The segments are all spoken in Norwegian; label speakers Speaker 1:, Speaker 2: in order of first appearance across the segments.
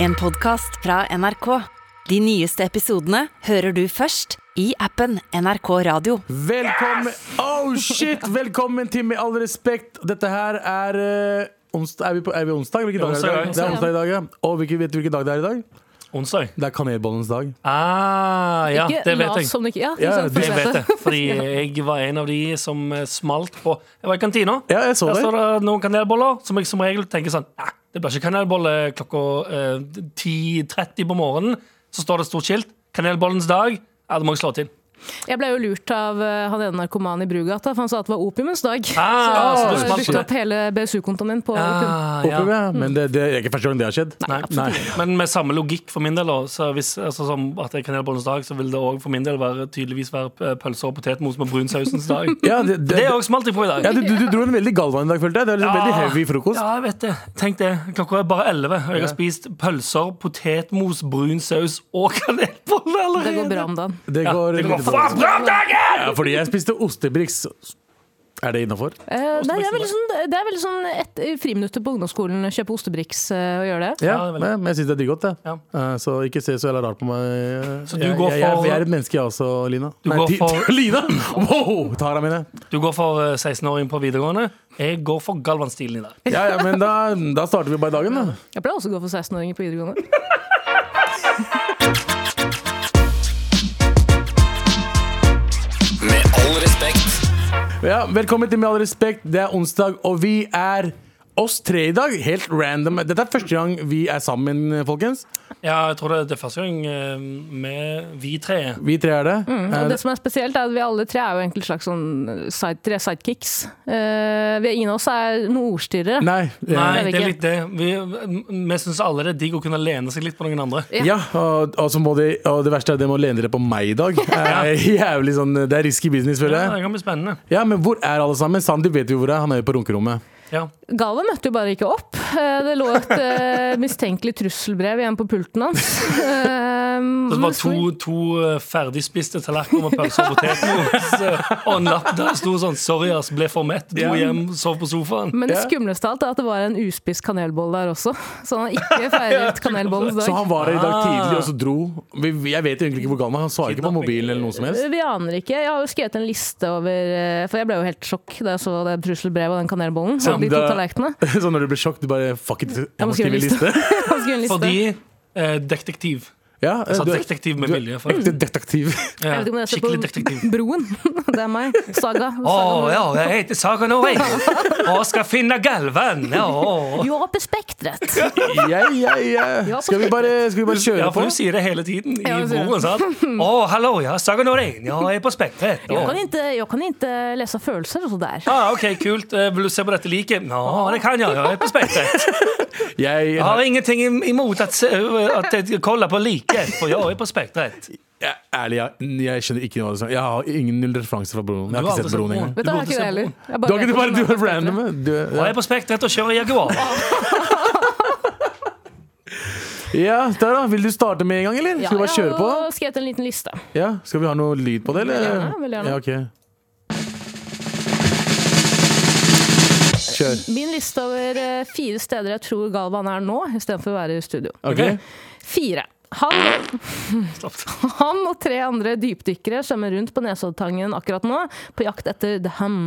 Speaker 1: En podcast fra NRK. De nyeste episodene hører du først i appen NRK Radio.
Speaker 2: Velkommen Oh shit! Velkommen til Med all respekt. Dette her er eh, onsdag. Er vi, på, er vi onsdag? Hvilken dag er det? i dag? Det
Speaker 3: Onsdag, ja.
Speaker 2: er onsdag i dag, ja. Og hvilken, vet du hvilken dag det er i dag?
Speaker 3: Onsdag?
Speaker 2: Det er kanelbollens dag.
Speaker 3: Ah, ja,
Speaker 4: Ikke
Speaker 3: det vet
Speaker 4: lat
Speaker 3: jeg.
Speaker 4: som det ikke- Ja,
Speaker 2: Ja,
Speaker 4: ikke sant,
Speaker 2: det
Speaker 3: Jeg
Speaker 4: for å
Speaker 3: vet
Speaker 4: vite.
Speaker 3: det, fordi jeg var en av de som eh, smalt på Jeg var i kantina.
Speaker 2: Ja, jeg så
Speaker 3: Der
Speaker 2: det.
Speaker 3: står det noen kanelboller, som jeg som regel tenker sånn Nei, det blir ikke kanelbolle klokka eh, 10.30 på morgenen. Så står det et stort skilt. Kanelbollens dag. Ja, det må jeg slå til.
Speaker 4: Jeg ble jo lurt av eh, han ene narkomanen i Brugata, for han sa at det var opiumens dag.
Speaker 2: Så-
Speaker 3: Ah, så du
Speaker 4: Så jeg
Speaker 3: smalt på
Speaker 4: brukte
Speaker 3: det.
Speaker 4: opp hele BSU-kontoen min på opium.
Speaker 3: Ah, ja.
Speaker 2: Håper vi, ja. Men det, det er ikke første gang det har skjedd.
Speaker 3: Nei,
Speaker 2: Nei.
Speaker 3: Men med samme logikk for min del. da. Så hvis, altså, som at det er kanelbollens dag, så vil det òg for min del være, tydeligvis være p- pølser og potetmos med brunsausens dag.
Speaker 2: Ja, det, det,
Speaker 3: Det òg smalt jeg på i dag.
Speaker 2: ja, du, du, du dro en veldig Galvan i dag, følte jeg. Det var liksom
Speaker 3: Ja.
Speaker 2: Veldig heavy frokost.
Speaker 3: Ja, jeg vet det. Tenk det. Klokka er bare 11, og jeg har spist pølser, potetmos, brun saus og kanelboller allerede.
Speaker 4: Det går bra om dagen.
Speaker 2: Det
Speaker 3: Ja,
Speaker 2: går,
Speaker 3: det går
Speaker 2: veldig
Speaker 3: faen
Speaker 2: bra.
Speaker 3: bra om dagen!
Speaker 2: Ja, fordi jeg spiste ostebriks. Er det innafor?
Speaker 4: Eh, nei, det er veldig sånn, det er veldig sånn et, i friminuttet på ungdomsskolen kjøpe ostebriks eh, og gjøre det.
Speaker 2: Ja,
Speaker 3: Ja, det er veldig-
Speaker 2: men men jeg syns det er digg det.
Speaker 3: Ja.
Speaker 2: Eh, Så ikke se så jævla rart på meg.
Speaker 3: Så du
Speaker 2: jeg,
Speaker 3: går
Speaker 2: jeg, jeg,
Speaker 3: for-
Speaker 2: jeg er et menneske, jeg også, Lina.
Speaker 3: Du går
Speaker 2: ti-
Speaker 3: for-
Speaker 2: Lina! Wow! Tara mine.
Speaker 3: Du går for eh, 16-åring på videregående. Jeg går for Galvan-stilen i dag.
Speaker 2: Ja, ja, men da, da starter vi bare dagen, da.
Speaker 4: Jeg pleier også å gå for 16-åringer på videregående.
Speaker 5: Med all respekt.
Speaker 2: Ja, velkommen til Med all respekt. Det er onsdag, og vi er oss tre i dag. Helt random. Dette er første gang vi er sammen, folkens.
Speaker 3: Ja, jeg tror det er det første gang eh, med vi tre.
Speaker 2: Vi tre er det.
Speaker 4: Mm, Og
Speaker 3: Mm.
Speaker 2: Eh,
Speaker 4: det som er spesielt er at Vi alle tre er jo egentlig slags sånn side, tre sidekicks. Eh, vi er, ingen av oss er noen ordstyrere.
Speaker 2: Nei. eh,
Speaker 3: Nei,
Speaker 4: det er
Speaker 3: det er
Speaker 4: ikke.
Speaker 3: litt det. Vi, vi syns alle det er digg å kunne lene seg litt på noen andre.
Speaker 2: Ja, og, og, så må de, og det verste er at de må lene dere på meg i dag. Eh, Jævlig sånn, Det er risky business,
Speaker 3: Ja,
Speaker 2: føler jeg.
Speaker 3: det kan bli spennende.
Speaker 2: Ja, Men hvor er alle sammen? Sandeep vet vi hvor er. Han er jo på runkerommet.
Speaker 3: Ja.
Speaker 4: Galvan møtte jo bare ikke opp. Eh, Det lå et eh, mistenkelig trusselbrev igjen på pulten hans. Eh,
Speaker 3: Så det var to, to eh, ferdigspiste tallerkener med pølse og potetmos eh, og en lapp der det sto sånn 'Sorry, ass, ble for mett. Dro
Speaker 2: Ja.
Speaker 3: hjem, sov på sofaen'.
Speaker 4: Men det
Speaker 2: Ja.
Speaker 4: skumleste av alt er at det var en uspist kanelbolle der også. Så han har ikke feiret kanelbollens
Speaker 2: Så
Speaker 4: dag.
Speaker 2: han var her i dag
Speaker 3: Ah.
Speaker 2: tidlig, og så dro vi, vi- Jeg vet egentlig ikke hvor gammel han er. Han svarer ikke på
Speaker 3: Kidnapping.
Speaker 2: mobilen eller noe som helst.
Speaker 4: Vi aner ikke. Jeg har jo skrevet en liste over eh, For jeg ble jo helt sjokk da jeg så det trusselbrevet og den kanelbollen.
Speaker 2: Som
Speaker 4: Og de to
Speaker 2: det-
Speaker 4: tallerkenene.
Speaker 2: Så når du blir sjokk, du bare fuck it, jeg må skrive en liste.
Speaker 4: Han skrev en liste.
Speaker 3: Fordi eh, detektiv.
Speaker 2: Ja,
Speaker 3: Jeg sa
Speaker 2: du er
Speaker 3: detektiv med
Speaker 2: du-
Speaker 3: vilje. For.
Speaker 2: ekte detektiv.
Speaker 3: Ja,
Speaker 4: Jeg vet ikke om dere ser på-
Speaker 3: skikkelig detektiv.
Speaker 4: Broen. Det er meg. Saga.
Speaker 3: Å
Speaker 4: Saga.
Speaker 3: ja, jeg heter Saga Norway og skal finne Galvan. Ja, å.
Speaker 4: Jo, på spektret.
Speaker 2: Ja, ja, ja.
Speaker 4: Ja,
Speaker 2: Skal vi bare, skal vi bare kjøre
Speaker 3: ja
Speaker 2: på?
Speaker 3: for du sier det hele tiden i
Speaker 4: Ja, hun sier det.
Speaker 3: broren. sant? Å, hallo, ja, Saga Norway. Ja, jeg er på Spektret.
Speaker 4: Jeg
Speaker 3: Ja.
Speaker 4: kan ikke, jeg kan ikke lese følelser og så der.
Speaker 3: Ah, OK, kult. Eh, Vil du se på dette liket? Ja, det kan jeg. Jeg er på Spektret.
Speaker 2: Jeg,
Speaker 3: Jeg har ingenting im- imot at, se- øh, at jeg kollar på liket, for jeg er på Spektret.
Speaker 2: jeg, ærlig, jeg, jeg skjønner ikke noe av det som Jeg har ingen null referanse fra broren. Jeg har
Speaker 3: Du har
Speaker 2: ikke
Speaker 3: aldri
Speaker 2: sett broren
Speaker 3: sett
Speaker 2: engang.
Speaker 4: Vet du,
Speaker 3: Du burde
Speaker 4: jeg har ikke
Speaker 3: se
Speaker 4: det
Speaker 3: på-
Speaker 4: heller. Jeg
Speaker 2: Du har ikke du bare
Speaker 4: vet
Speaker 2: du
Speaker 4: hvordan
Speaker 2: er random? Du,
Speaker 3: Og
Speaker 2: ja.
Speaker 3: jeg er på Spektret og kjører Jaguar.
Speaker 2: ja, der da. Vil du starte med en gang, eller? Skal vi bare kjøre på?
Speaker 4: Jeg har skrevet en liten liste.
Speaker 2: Ja, Skal vi ha noe lyd på det, eller?
Speaker 4: Gjerne, veldig gjerne.
Speaker 2: Ja, ok Kjør.
Speaker 4: Min liste over eh, fire steder jeg tror Galvan er nå, istedenfor å være i studio.
Speaker 2: Ok.
Speaker 3: Ok.
Speaker 4: Fire. Han, han og tre andre dypdykkere svømmer rundt på Nesoddtangen akkurat nå, på jakt etter The Hum.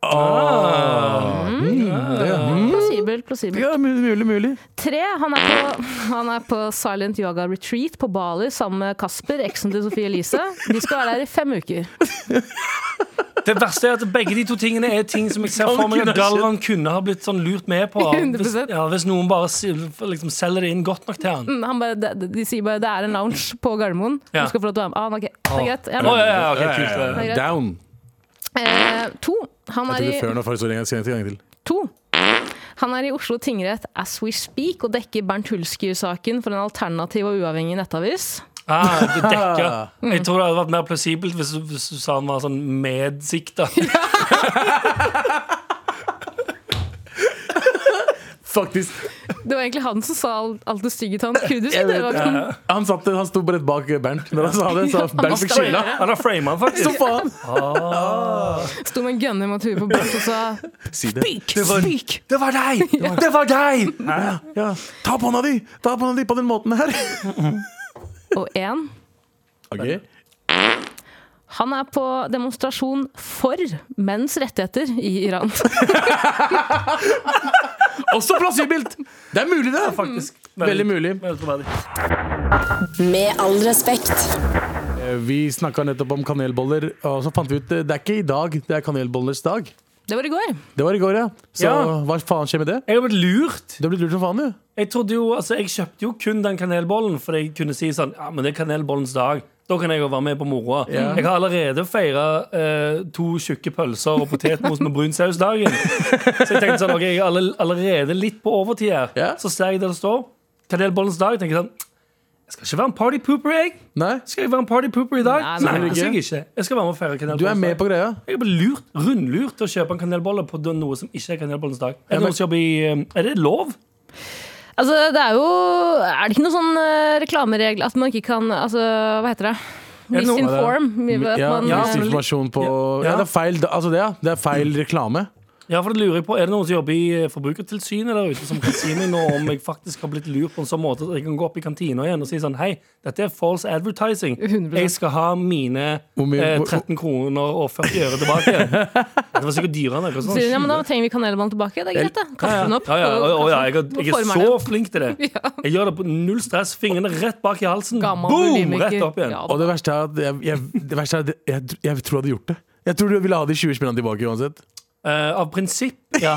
Speaker 2: Ah,
Speaker 3: Mm.
Speaker 4: Plausibelt, plausibelt.
Speaker 2: mm, Ja, mulig, mulig, mulig.
Speaker 4: Tre, han er, på, han er på Silent Yoga Retreat på Bali sammen med Kasper, eksen til Sofie Elise. De skal være der i fem uker.
Speaker 3: Det verste er at begge de to tingene er ting som jeg ser for meg at Galvan kunne ha blitt sånn lurt med på. Hvis,
Speaker 4: 100%.
Speaker 3: ja, hvis noen bare si- liksom, selger det inn godt nok til han.
Speaker 4: Mm, Han bare, de, de sier bare det er en lounge på Gardermoen.
Speaker 3: Ja.
Speaker 4: Du skal få lov til å være med. Ah, ok, det er greit. Jeg er
Speaker 3: Å,
Speaker 4: med.
Speaker 3: ja, ja, ok, kult.
Speaker 4: greit.
Speaker 2: Down.
Speaker 4: Eh, to. Han
Speaker 2: Jeg
Speaker 4: er
Speaker 2: trodde
Speaker 4: i
Speaker 2: før nå, forrige gang, skal jeg til gang til.
Speaker 4: To. Han er i Oslo tingrett as we speak og dekker Bernt Hulsker-saken for en alternativ og uavhengig nettavis.
Speaker 3: Ah, det dekker. Jeg tror det hadde vært mer plausibelt hvis, hvis du sa han var sånn medsikta.
Speaker 2: Faktisk.
Speaker 4: Det var egentlig han som sa alt, alt det stygge til han Kudus.
Speaker 2: Jeg
Speaker 4: Det
Speaker 2: vet,
Speaker 4: var
Speaker 2: ja,
Speaker 4: ikke
Speaker 2: ja. Han, satt, han sto bare rett bak Bernt når han sa det, så Bernt fikk skylda.
Speaker 3: Han har frama den,
Speaker 2: Så
Speaker 3: faktisk.
Speaker 2: faen!
Speaker 4: Sto med en gunner mot huet på Bernt og sa
Speaker 2: Si det.
Speaker 3: Det var, det var deg! Det var deg!
Speaker 2: Ja. Ta på hånda di! Ta på hånda di på den måten her!
Speaker 4: Og én,
Speaker 2: Ok.
Speaker 4: han er på demonstrasjon for menns rettigheter i Iran.
Speaker 2: Også plassibilt! Det er mulig, det.
Speaker 3: Faktisk.
Speaker 2: Veldig mulig.
Speaker 3: Veldig troverdig.
Speaker 5: Med all respekt.
Speaker 2: Eh, Vi snakka nettopp om kanelboller, og så fant vi ut eh, det er ikke i dag det er kanelbollers dag.
Speaker 4: Det var i går.
Speaker 2: Det var i går, ja. Så
Speaker 3: Ja.
Speaker 2: hva faen skjer med det?
Speaker 3: Jeg har blitt lurt.
Speaker 2: Du har blitt lurt som faen, du.
Speaker 3: Jeg trodde jo, altså jeg kjøpte jo kun den kanelbollen, for jeg kunne si sånn Ja, men det er kanelbollens dag. Da kan jeg jo være med på moroa.
Speaker 2: Ja.
Speaker 3: Jeg har allerede feira eh, to tjukke pølser og potetmos med brun saus-dagen. Så jeg tenkte sånn, ok, jeg er alle- allerede litt på overtid her.
Speaker 2: Ja.
Speaker 3: Så ser jeg det det står. Kanelbollens dag. tenker jeg sånn Jeg skal ikke være en party pooper, jeg.
Speaker 2: Nei,
Speaker 3: Skal jeg være en party pooper i dag?
Speaker 4: Nei,
Speaker 3: Nei,
Speaker 4: nei,
Speaker 2: nei.
Speaker 3: det skal jeg ikke. Jeg skal være med og feire kanelbollens
Speaker 2: du er med
Speaker 3: dag.
Speaker 2: på greia.
Speaker 3: Jeg ble lurt, rundlurt til å kjøpe en kanelbolle på noe som ikke er kanelbollens dag. Er
Speaker 2: Ja,
Speaker 3: det,
Speaker 2: men-
Speaker 3: noen som jobber i, eh, er det lov?
Speaker 4: Altså, det er jo Er det ikke noen sånn eh, reklameregel at man ikke kan Altså, hva heter det?
Speaker 3: det noe-
Speaker 4: Misinform. At
Speaker 2: Ja,
Speaker 4: man,
Speaker 3: ja.
Speaker 4: eh,
Speaker 2: misinformasjon på
Speaker 3: Ja.
Speaker 2: Ja, det er feil, altså det, ja. Det er feil reklame.
Speaker 3: Ja, for det lurer jeg på Er det noen som jobber i eh, Forbrukertilsynet der ute, som kan si meg nå om jeg faktisk har blitt lurt på en sånn måte at jeg kan gå opp i kantina igjen og si sånn Hei, dette er false advertising.
Speaker 4: 100%.
Speaker 3: Jeg skal ha mine
Speaker 2: Hvor mye-
Speaker 3: eh, 13 kroner og 40 øre tilbake igjen. Det var sikkert dyrere enn noe
Speaker 4: sier hun, ja, men da
Speaker 3: sånt.
Speaker 4: trenger vi kanelbollen tilbake. Det er greit, det.
Speaker 3: Sånn Ja,
Speaker 4: Kaste den
Speaker 3: ja,
Speaker 4: opp.
Speaker 3: ja, ja,
Speaker 4: og-
Speaker 3: å, ja, jeg,
Speaker 4: og
Speaker 3: jeg er
Speaker 4: former
Speaker 3: så
Speaker 4: den.
Speaker 3: flink til det.
Speaker 4: Ja.
Speaker 3: Jeg gjør det på null stress. Fingrene rett bak i halsen.
Speaker 4: Gammel
Speaker 3: Boom!
Speaker 4: bulimiker.
Speaker 3: Rett opp igjen.
Speaker 4: Ja,
Speaker 2: Og det verste er at jeg, jeg, det verste er at jeg, jeg, tror jeg hadde gjort det. Jeg tror du ville ha de 20 spillene tilbake uansett.
Speaker 3: Eh, av prinsipp, ja.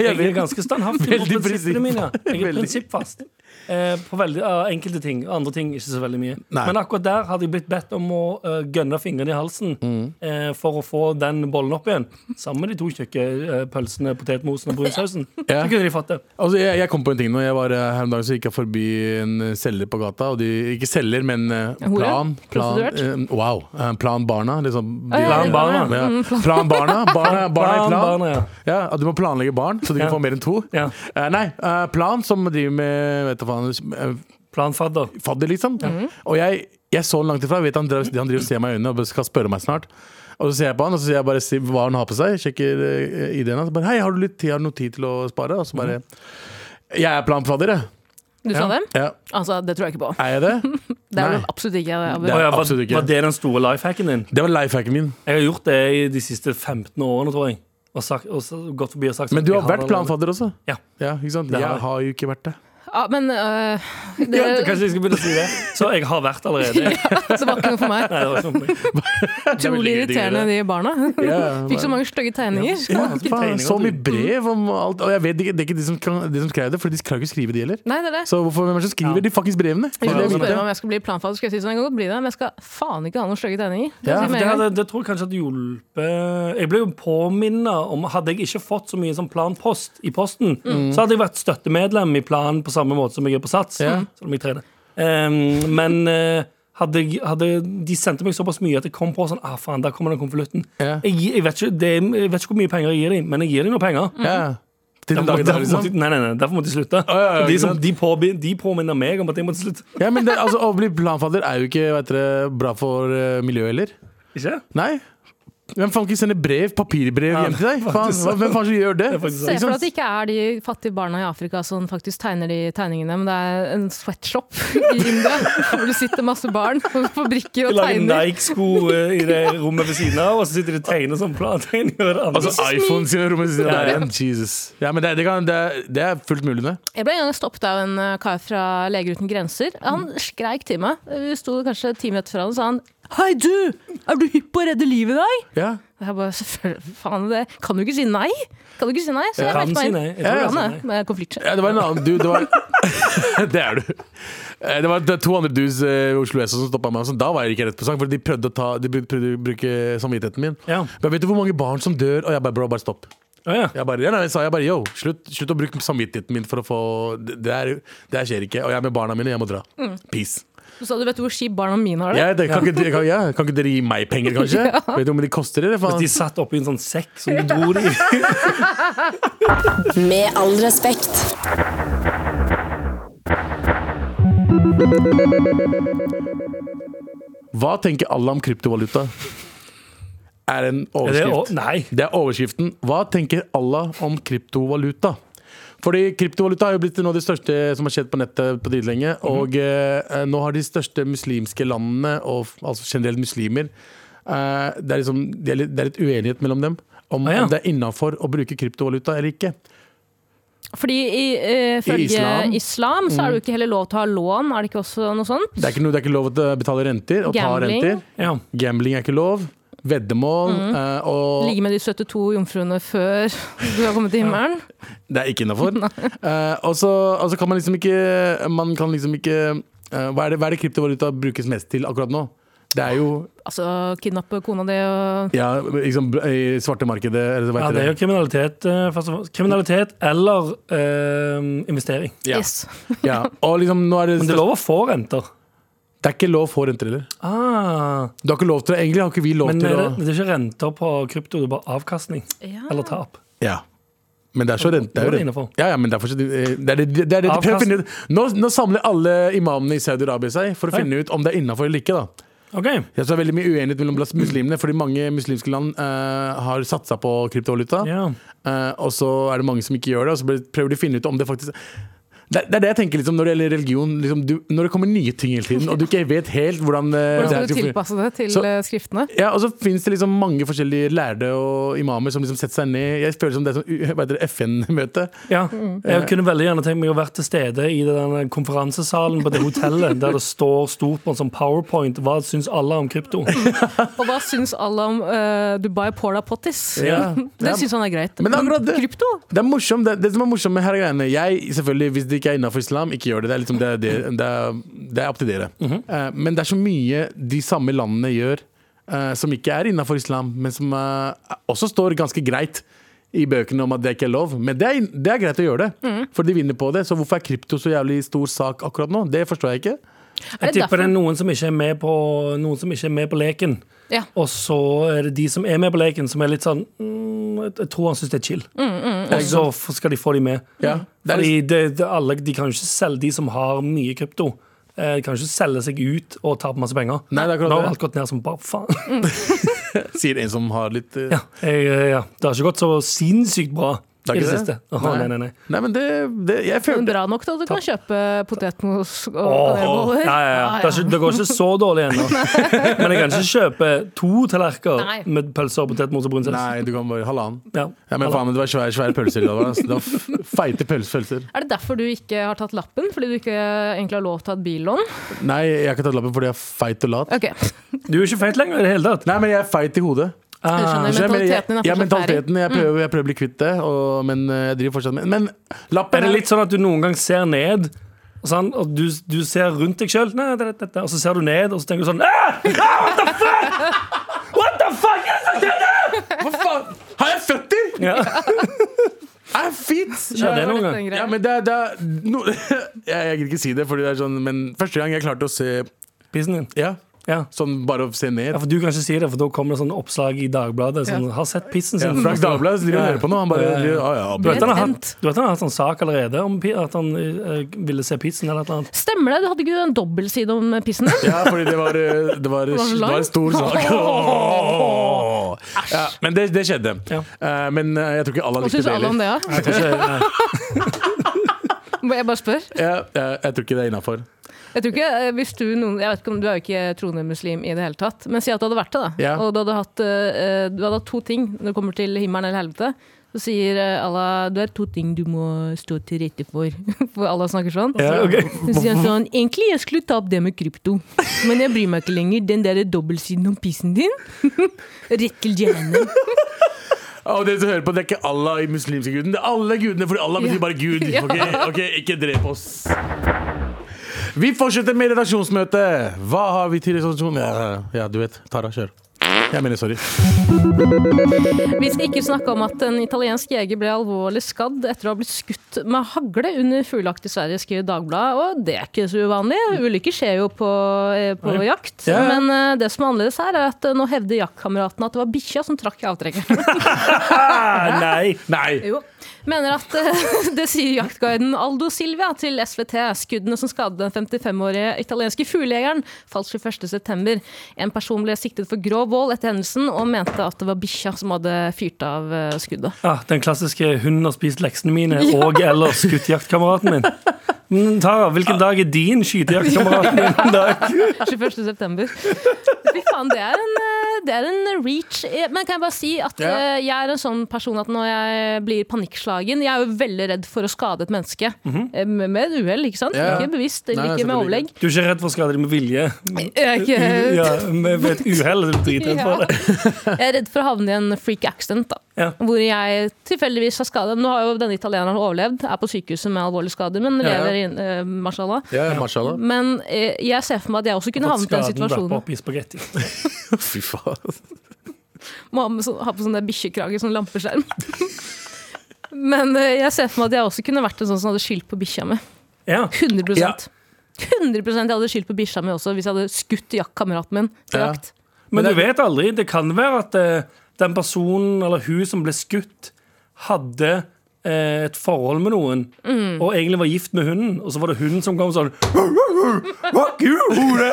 Speaker 3: Jeg er ganske standhaftig på
Speaker 2: Veldig
Speaker 3: prinsippene
Speaker 2: prinsipp.
Speaker 3: mine. Jeg er
Speaker 2: Veldig.
Speaker 3: prinsippfast. Eh, på veldig, eh, enkelte ting. Andre ting ikke så veldig mye.
Speaker 2: Nei.
Speaker 3: Men akkurat der hadde jeg blitt bedt om å eh, gønne fingrene i halsen
Speaker 2: Mm.
Speaker 3: eh, for å få den bollen opp igjen. Sammen med de to tjukke eh, pølsene, potetmosen og brunsausen.
Speaker 2: Ja.
Speaker 3: Så kunne de fått det.
Speaker 2: Altså, jeg, jeg kom på en ting nå. Jeg var eh, her om dagen så gikk jeg forbi en eh, selger på gata. Og de, ikke selger, men eh,
Speaker 4: Hore?
Speaker 2: Plan. plan
Speaker 4: Prostituert?
Speaker 2: eh, wow. eh, Plan Barna. Liksom, de,
Speaker 3: Plan Barna.
Speaker 2: Ja, plan Barna. Barna, barna i
Speaker 3: Barn,
Speaker 2: plan.
Speaker 3: barna, ja.
Speaker 2: Ja, at du må planlegge barn, så de
Speaker 3: Ja.
Speaker 2: kan få mer enn to.
Speaker 3: Ja.
Speaker 2: Eh, nei, eh, Plan, som driver med vet du faen, eh,
Speaker 3: Planfadder.
Speaker 2: fadder, liksom.
Speaker 4: Mhm.
Speaker 2: Og jeg, jeg så han langt ifra. Jeg vet han, drev, han driver og ser meg i øynene og skal spørre meg snart. Og så ser jeg på han, og så ser jeg bare si- hva han har på seg. Sjekker eh, ID-en hans. Bare, Hei, har du litt tid, har du noe tid til å spare? Og så bare Jeg er planfadder, jeg.
Speaker 4: Du sa det?
Speaker 2: Ja.
Speaker 4: Altså, det tror jeg ikke på.
Speaker 2: Er jeg det?
Speaker 4: Det er
Speaker 2: Nei.
Speaker 4: vel absolutt ikke Abu.
Speaker 2: Det er
Speaker 3: Å ja, var,
Speaker 2: absolutt ikke.
Speaker 3: var det den store lifehacken din?
Speaker 2: Det var lifehacken min.
Speaker 3: Jeg har gjort det i de siste 15 årene, tror jeg. Og, sagt, og så, gått forbi og sagt
Speaker 2: Men du
Speaker 3: jeg
Speaker 2: har vært
Speaker 3: allerede-
Speaker 2: planfadder også?
Speaker 3: Ja.
Speaker 2: ikke sant?
Speaker 3: Det har jeg.
Speaker 2: Jeg har jo ikke vært det.
Speaker 4: Ja, men øh, det,
Speaker 3: Ja, kanskje jeg skal begynne å si det. Så jeg har vært allerede.
Speaker 4: det var ikke noe for meg.
Speaker 3: Nei, det var sånn. ikke noe for meg.
Speaker 4: Utrolig
Speaker 2: veldig gøy,
Speaker 4: irriterende, de barna.
Speaker 2: Ja,
Speaker 4: Fikk så
Speaker 2: bare-
Speaker 4: mange stygge
Speaker 2: Ja,
Speaker 4: tegninger.
Speaker 3: Faen, ikke
Speaker 2: faen,
Speaker 3: tegninger,
Speaker 2: så mye
Speaker 3: du.
Speaker 2: brev om alt. Og jeg vet ikke, det er ikke de som, kan, de som skrev det, for de klarer ikke å skrive de heller.
Speaker 4: Nei, det er det.
Speaker 2: Så hvorfor, hvem er det som skriver
Speaker 3: Ja.
Speaker 2: de fucking brevene?
Speaker 4: Hvis
Speaker 2: Det vil
Speaker 4: noen
Speaker 2: jeg
Speaker 4: spør meg
Speaker 2: vite.
Speaker 4: om jeg skal bli planfader, skal jeg si sånn, jeg kan godt bli det, men jeg skal faen ikke ha noen stygge tegninger. Det
Speaker 2: Ja,
Speaker 4: sier
Speaker 3: For
Speaker 4: meg
Speaker 3: Det,
Speaker 4: en gang.
Speaker 3: hadde, det tror jeg kanskje hadde hjulpet Jeg ble jo påminna om Hadde jeg ikke fått så mye sånn planpost i posten,
Speaker 2: Mm.
Speaker 3: så hadde jeg vært støttemedlem i Plan på samme måte som jeg er på Sats.
Speaker 2: Ja.
Speaker 3: Selv om jeg trener. Ehm, men eh, hadde, jeg- hadde, de sendte meg såpass mye at jeg kom på sånn ah, faen, der kommer den konvolutten.
Speaker 2: Ja.
Speaker 3: Jeg, gi- jeg, vet ikke- det er- jeg vet ikke hvor mye penger jeg gir dem, men jeg gir dem noe penger.
Speaker 2: Ja. Til den
Speaker 3: Derfor,
Speaker 2: dagen der,
Speaker 3: derfor,
Speaker 2: liksom.
Speaker 3: måtte, nei, nei, nei, derfor måtte de slutte.
Speaker 2: ja, ja,
Speaker 3: de,
Speaker 2: ikke
Speaker 3: som,
Speaker 2: sant.
Speaker 3: de, påbi- de påminner meg om at jeg måtte slutte.
Speaker 2: Ja, men det, altså, Å bli planfadder er jo ikke vet dere, bra for eh, miljøet heller.
Speaker 3: Ikke?
Speaker 2: Nei. Hvem faen ikke sender brev, papirbrev,
Speaker 3: Ja,
Speaker 2: hjem til deg? Faen,
Speaker 3: faktisk sant.
Speaker 2: hvem faen som gjør det?
Speaker 3: er faktisk
Speaker 4: Se
Speaker 2: Ikke
Speaker 4: for deg
Speaker 2: sant?
Speaker 4: at det ikke er de fattige barna i Afrika som faktisk tegner de tegningene, men det er en sweatshop i India hvor det sitter masse barn på brikker og
Speaker 3: Lager
Speaker 4: tegner.
Speaker 3: Nike-sko eh, i det rommet ved siden av, og så sitter de og tegner sånn plantegning. over det andre.
Speaker 2: Altså iPhone sine rom sine der
Speaker 3: Ja, ja.
Speaker 2: igjen. Jesus. Ja, men det, det, kan, det, det er fullt mulig, det.
Speaker 4: Jeg ble en gang stoppet av en eh, kar fra Leger uten grenser. Han skreik til meg. Vi sto kanskje ti minutter fra han og sa han Hei du, er du hypp på å redde livet i dag?
Speaker 2: Ja.
Speaker 4: Og jeg bare selvfølgelig, faen det Kan du ikke si nei? Kan du ikke si nei? Så jeg
Speaker 3: Kan
Speaker 4: meldte meg
Speaker 3: si
Speaker 4: inn.
Speaker 3: nei. Jeg tror jeg
Speaker 4: Kan
Speaker 3: sa
Speaker 4: det, med konfliktsky.
Speaker 2: Ja, det var en annen dude. Det var Det er du. Eh, Det var det var to andre dudes eh, ved Oslo S som stoppa meg. og sånn, Da var jeg ikke rett på sak, for de prøvde å, ta, de prøvde å bruke samvittigheten min.
Speaker 3: Ja.
Speaker 2: Men vet du hvor mange barn som dør? Og jeg bare bro, bare stopp.
Speaker 3: Å, ja.
Speaker 2: Jeg bare, ja, nei, jeg sa jeg bare yo, slutt, slutt å bruke samvittigheten min for å få Det, det, er, det her skjer ikke. Og jeg er med barna mine, jeg må dra. Peace.
Speaker 4: Så sa du vet du hvor kjipt barna mine Mm. har det?
Speaker 2: Ja, det, kan, ikke, dere- kan, ja, kan ikke dere gi meg penger, kanskje? Vet du hvor mye de koster, eller faen?
Speaker 3: De satt oppi en sånn sekk som de dro i.
Speaker 5: Med all respekt.
Speaker 2: Hva tenker alle om kryptovaluta? Er en
Speaker 3: Er det,
Speaker 2: overskrift.
Speaker 3: å, nei.
Speaker 2: Det er overskriften. Hva tenker Allah om kryptovaluta? Fordi kryptovaluta har jo blitt noe av de største som har skjedd på nettet på dritlenge.
Speaker 4: Mhm.
Speaker 2: Og eh, nå har de største muslimske landene, og f- altså generelt muslimer eh, det, er liksom, det, er litt, det er litt uenighet mellom dem om,
Speaker 3: Ah, ja.
Speaker 2: om det er innafor å bruke kryptovaluta eller ikke.
Speaker 4: Fordi eh, ifølge
Speaker 2: islam?
Speaker 4: islam, islam Mm. så er det jo ikke heller lov til å ha lån, er det ikke også noe sånn? sånt?
Speaker 2: Det er ikke, noe, det er ikke lov å betale renter og
Speaker 4: Gambling. Mhm.
Speaker 2: ta renter.
Speaker 3: Ja.
Speaker 2: Gambling er ikke lov. Veddemål. eh, og
Speaker 4: Ligge med de 72 jomfruene før du har kommet til himmelen.
Speaker 2: Det er ikke innafor. og så og så kan man liksom ikke Man kan liksom ikke eh, hva, er det, hva er det kryptovaluta brukes mest til akkurat nå? Det er jo
Speaker 4: Altså kidnappe kona di og
Speaker 2: ja, liksom, br- i svarte markedet eller hva
Speaker 3: ja,
Speaker 2: heter
Speaker 3: det er jo
Speaker 2: det?
Speaker 3: kriminalitet. eh, Først og fremst. Kriminalitet eller eh, investering.
Speaker 2: Ja.
Speaker 4: yes.
Speaker 2: Ja. Og liksom, nå er det,
Speaker 3: Men det er lov å få renter.
Speaker 2: det er ikke lov for renter heller.
Speaker 3: Ah,
Speaker 2: Du har ikke lov til det. Egentlig har ikke vi lov
Speaker 3: men
Speaker 2: til
Speaker 3: er det,
Speaker 2: å
Speaker 3: det er ikke renter på krypto, det er bare avkastning
Speaker 4: Ja.
Speaker 3: eller tap.
Speaker 2: Ja. Men det er så rent, det
Speaker 3: Nå er
Speaker 2: er
Speaker 3: det
Speaker 2: jo
Speaker 3: innenfor.
Speaker 2: rent. Ja, ja, men det er fortsatt, eh, det er det, det er det de prøver å
Speaker 3: Avkast-
Speaker 2: finne ut. Nå, nå samler alle imamene i Saudi-Arabia seg for å
Speaker 3: Oi.
Speaker 2: finne ut om det er innafor eller ikke. da
Speaker 3: Ok,
Speaker 2: Jeg tror det er veldig mye uenighet mellom blant muslimene, fordi mange muslimske land eh, har satsa på kryptovaluta.
Speaker 3: ja.
Speaker 2: Eh, og så er det mange som ikke gjør det, og så blir- prøver de å finne ut om det faktisk det, det er det jeg tenker liksom, når det gjelder religion. Liksom, du, når det kommer nye ting hele tiden, og du ikke vet helt hvordan eh,
Speaker 4: Hvordan
Speaker 2: det her
Speaker 4: skal du
Speaker 2: skal fungere.
Speaker 4: tilpasse det til
Speaker 2: Så-
Speaker 4: eh, skriftene?
Speaker 2: ja, og så finnes det liksom mange forskjellige lærde og imamer som liksom setter seg ned. Jeg føler som det er sånn hva heter det, FN-møte.
Speaker 3: ja. Jeg kunne veldig gjerne tenkt meg å være til stede i den konferansesalen på det hotellet der det står stort på en sånn powerpoint hva syns alle om krypto.
Speaker 4: Og hva syns alle om eh, Dubai Paula Pottis?
Speaker 2: Ja.
Speaker 4: Det syns han er greit.
Speaker 2: Men det er akkurat det.
Speaker 4: Krypto?
Speaker 2: Det er morsomt, det, det som er morsomt med her er greiene Jeg, selvfølgelig, Hvis det ikke er innafor islam, ikke gjør det. Det er, liksom, det, er- det, det, er- det er opp til dere. Eh, men det er så mye de samme landene gjør eh, som ikke er innafor islam, men som eh, også står ganske greit i bøkene om at det ikke er lov. Men det er, det er greit å gjøre det, for de vinner på det. Så hvorfor er krypto så jævlig stor sak akkurat nå? Det forstår jeg ikke.
Speaker 4: Er
Speaker 3: Jeg
Speaker 4: det
Speaker 3: tipper det er
Speaker 4: derfor-
Speaker 3: noen som ikke er med på, noen som ikke er med på leken.
Speaker 4: Ja.
Speaker 3: Og så er det de som er med på leken, som er litt sånn mm, Jeg jeg tror han syns det er chill. Og så f- skal de få de med.
Speaker 2: Ja, det er liksom-
Speaker 3: Fordi det, det, alle, de kan jo ikke selge de som har mye krypto. eh, De kan jo ikke selge seg ut og tape masse penger.
Speaker 2: Nei, det er akkurat
Speaker 3: Nå
Speaker 2: det.
Speaker 3: har alt gått ned som bare faen.
Speaker 2: Sier en som har litt eh,
Speaker 3: Ja, jeg, eh, ja. Det har ikke gått så sinnssykt bra
Speaker 2: Det er
Speaker 3: i det
Speaker 2: ikke det?
Speaker 3: siste. Åh, nei, nei, nei.
Speaker 2: Nei, men det, det Jeg
Speaker 4: Men
Speaker 2: føler
Speaker 4: bra nok til at du kan kjøpe potetmos og
Speaker 3: Åh,
Speaker 4: kanelboller.
Speaker 3: ja, ja, ja. Det, er ikke, det går ikke så dårlig ennå. Men jeg kan ikke kjøpe to tallerkener
Speaker 4: Nei.
Speaker 3: med pølser og potetmos og brunsaus.
Speaker 2: Nei, du kan bare Halvannen.
Speaker 3: Ja.
Speaker 2: Ja, men faen, det var svære, svære pølser i dag. ass. Det var f- feite pøls- pølser.
Speaker 4: Er det derfor du ikke har tatt lappen? Fordi du ikke eh, egentlig har lov til å ha et billån?
Speaker 2: Nei, jeg har ikke tatt lappen fordi jeg er feit og lat.
Speaker 4: Ok,
Speaker 3: Du er jo ikke feit lenger i det hele tatt.
Speaker 2: Nei, men jeg er feit i hodet.
Speaker 4: du
Speaker 3: Ah,
Speaker 4: skjønner,
Speaker 2: Skjønner du, men jeg,
Speaker 4: mentaliteten din er
Speaker 2: ja,
Speaker 4: fortsatt ferdig.
Speaker 2: mentaliteten, jeg,
Speaker 3: Mm.
Speaker 2: prøver, jeg prøver å bli kvitt det, og, men eh, jeg driver fortsatt med Men lappen
Speaker 3: er det litt sånn at du noen gang ser ned, sånn, og du, du ser rundt deg sjøl, og så ser du ned, og så tenker du sånn ah, ah, What the fuck? What the fuck?
Speaker 2: Hva faen? Har jeg føtter?!
Speaker 3: Ja.
Speaker 2: Er jeg fint!
Speaker 3: Skjer det noen gang?
Speaker 4: Den greia.
Speaker 2: Ja, men det er, det er no, jeg, jeg gidder ikke si det, fordi det er sånn Men første gang jeg klarte å se
Speaker 3: Pissen din.
Speaker 2: Ja,
Speaker 3: Ja.
Speaker 2: sånn bare å se ned
Speaker 3: ja, for Du kan ikke si det, for da kommer det sånn oppslag i Dagbladet. Sånn, 'Har sett pissen
Speaker 2: ja,
Speaker 3: sin'.
Speaker 2: Frank Dagbladet driver og
Speaker 3: Ja.
Speaker 2: hører på nå. Han bare
Speaker 3: Ja, ja.
Speaker 2: driver- ah, ja,
Speaker 3: Du vet, han har hatt,
Speaker 4: Brent.
Speaker 3: du vet han har hatt sånn sak allerede om pi- at han eh, ville se pizzen eller et eller annet.
Speaker 4: Stemmer det? Du hadde ikke en dobbeltside om pissen din?
Speaker 2: Ja, fordi det var, eh, det var, det
Speaker 4: var
Speaker 2: var
Speaker 4: så
Speaker 2: en
Speaker 4: langt.
Speaker 2: stor sak. Ja, men det, det skjedde.
Speaker 3: Ja.
Speaker 2: Eh, men eh, jeg tror ikke alle
Speaker 4: Hva
Speaker 2: likte
Speaker 4: syns
Speaker 2: det
Speaker 4: alle om
Speaker 2: heller.
Speaker 4: det, ja?
Speaker 3: Jeg tror ikke, nei.
Speaker 4: Jeg bare spør.
Speaker 2: Ja, eh, jeg tror ikke det er innafor.
Speaker 4: Jeg tror ikke, eh, hvis du, noen, jeg vet ikke om, du er jo ikke troende muslim i det hele tatt, men si at du hadde vært det, da.
Speaker 2: Ja.
Speaker 4: Og du hadde, hatt, eh, eh, du hadde hatt to ting når det kommer til himmelen eller helvete. Så sier eh, Allah du har to ting du må stå til rette for. For Allah snakker sånn.
Speaker 3: Ja, ok.
Speaker 4: Så sier han sånn Egentlig jeg skulle ta opp det med krypto, men jeg bryr meg ikke lenger. Den der dobbeltsiden om pissen din. Rett til hjernen.
Speaker 2: Og dere som hører på, det er ikke Allah i muslimske guden. Det er alle gudene, fordi Allah betyr bare Gud. Ok, ok, ikke drep oss. Vi fortsetter med redaksjonsmøte. Hva har vi til redaksjon? Ja, ja, du vet. Tara, kjør. Jeg mener sorry.
Speaker 4: Vi skal ikke snakke om at en italiensk jeger ble alvorlig skadd etter å ha blitt skutt med hagle under fuglejakt i Sverige, skriver Dagbladet. Og det er ikke så uvanlig. Ulykker skjer jo på, eh, på jakt.
Speaker 2: Ja.
Speaker 4: Men eh, det som er annerledes her, er at eh, nå hevder jaktkameratene at det var bikkja som trakk i avtrekkeren.
Speaker 3: Ah, nei.
Speaker 2: Nei.
Speaker 4: Jo. Mener at eh, det sier jaktguiden Aldo Silvia til SVT. Skuddene som skadet den 55-årige italienske fuglejegeren falt 21.9. En person ble siktet for grov vold etter hendelsen og mente at det var bikkja som hadde fyrt av eh, skuddet.
Speaker 3: Ja, Ah, den klassiske 'hun har spist leksene mine' og 'eller skutt jaktkameraten min'. Mm, Tara, hvilken dag er din skytejaktkamerat min? dag?
Speaker 4: 21. september. Fy faen, det er en, eh, det er en reach. Eh, Men kan jeg bare si at
Speaker 2: Ja.
Speaker 4: eh, jeg er en sånn person at når jeg blir panikkslagen Jeg er jo veldig redd for å skade et menneske. Eh, Med med et uhell, ikke sant?
Speaker 2: Mhm. Ja, ja.
Speaker 4: Ikke bevisst, eller
Speaker 2: Nei,
Speaker 4: ikke med
Speaker 2: selvfølgelig
Speaker 4: overlegg.
Speaker 2: ikke.
Speaker 3: Du er ikke redd for å skade deg med vilje?
Speaker 4: Jeg er, ikke,
Speaker 3: Ja, med ved et uhell? er Du dritredd for det.
Speaker 4: jeg er redd for å havne i en freak accident, da.
Speaker 3: Ja.
Speaker 4: Hvor jeg tilfeldigvis har skada Nå har jo denne italieneren overlevd, er på sykehuset med alvorlige skader, men
Speaker 2: Ja, ja.
Speaker 4: lever inn, eh, mashallah.
Speaker 2: Ja, mashallah.
Speaker 4: Men eh, jeg ser for meg at jeg også kunne havnet i den
Speaker 3: Skaden
Speaker 4: situasjonen.
Speaker 3: dapper opp i spagetti.
Speaker 2: Fy faen.
Speaker 4: Må ha, med sånn, ha på sånn der bikkjekrage, sånn lampeskjerm. Men eh, jeg ser for meg at jeg også kunne vært en sånn som hadde skyldt på bikkja mi.
Speaker 3: Ja.
Speaker 4: 100
Speaker 3: Ja.
Speaker 4: 100 jeg hadde skyldt på bikkja mi også hvis jeg hadde skutt jak- kameraten min. til
Speaker 2: Ja.
Speaker 4: jakt.
Speaker 3: Men du vet aldri. Det kan være at eh, den personen eller hun som ble skutt, hadde eh, et forhold med noen og egentlig var gift med hunden, og så var det hunden som kom sånn Fuck you, hore!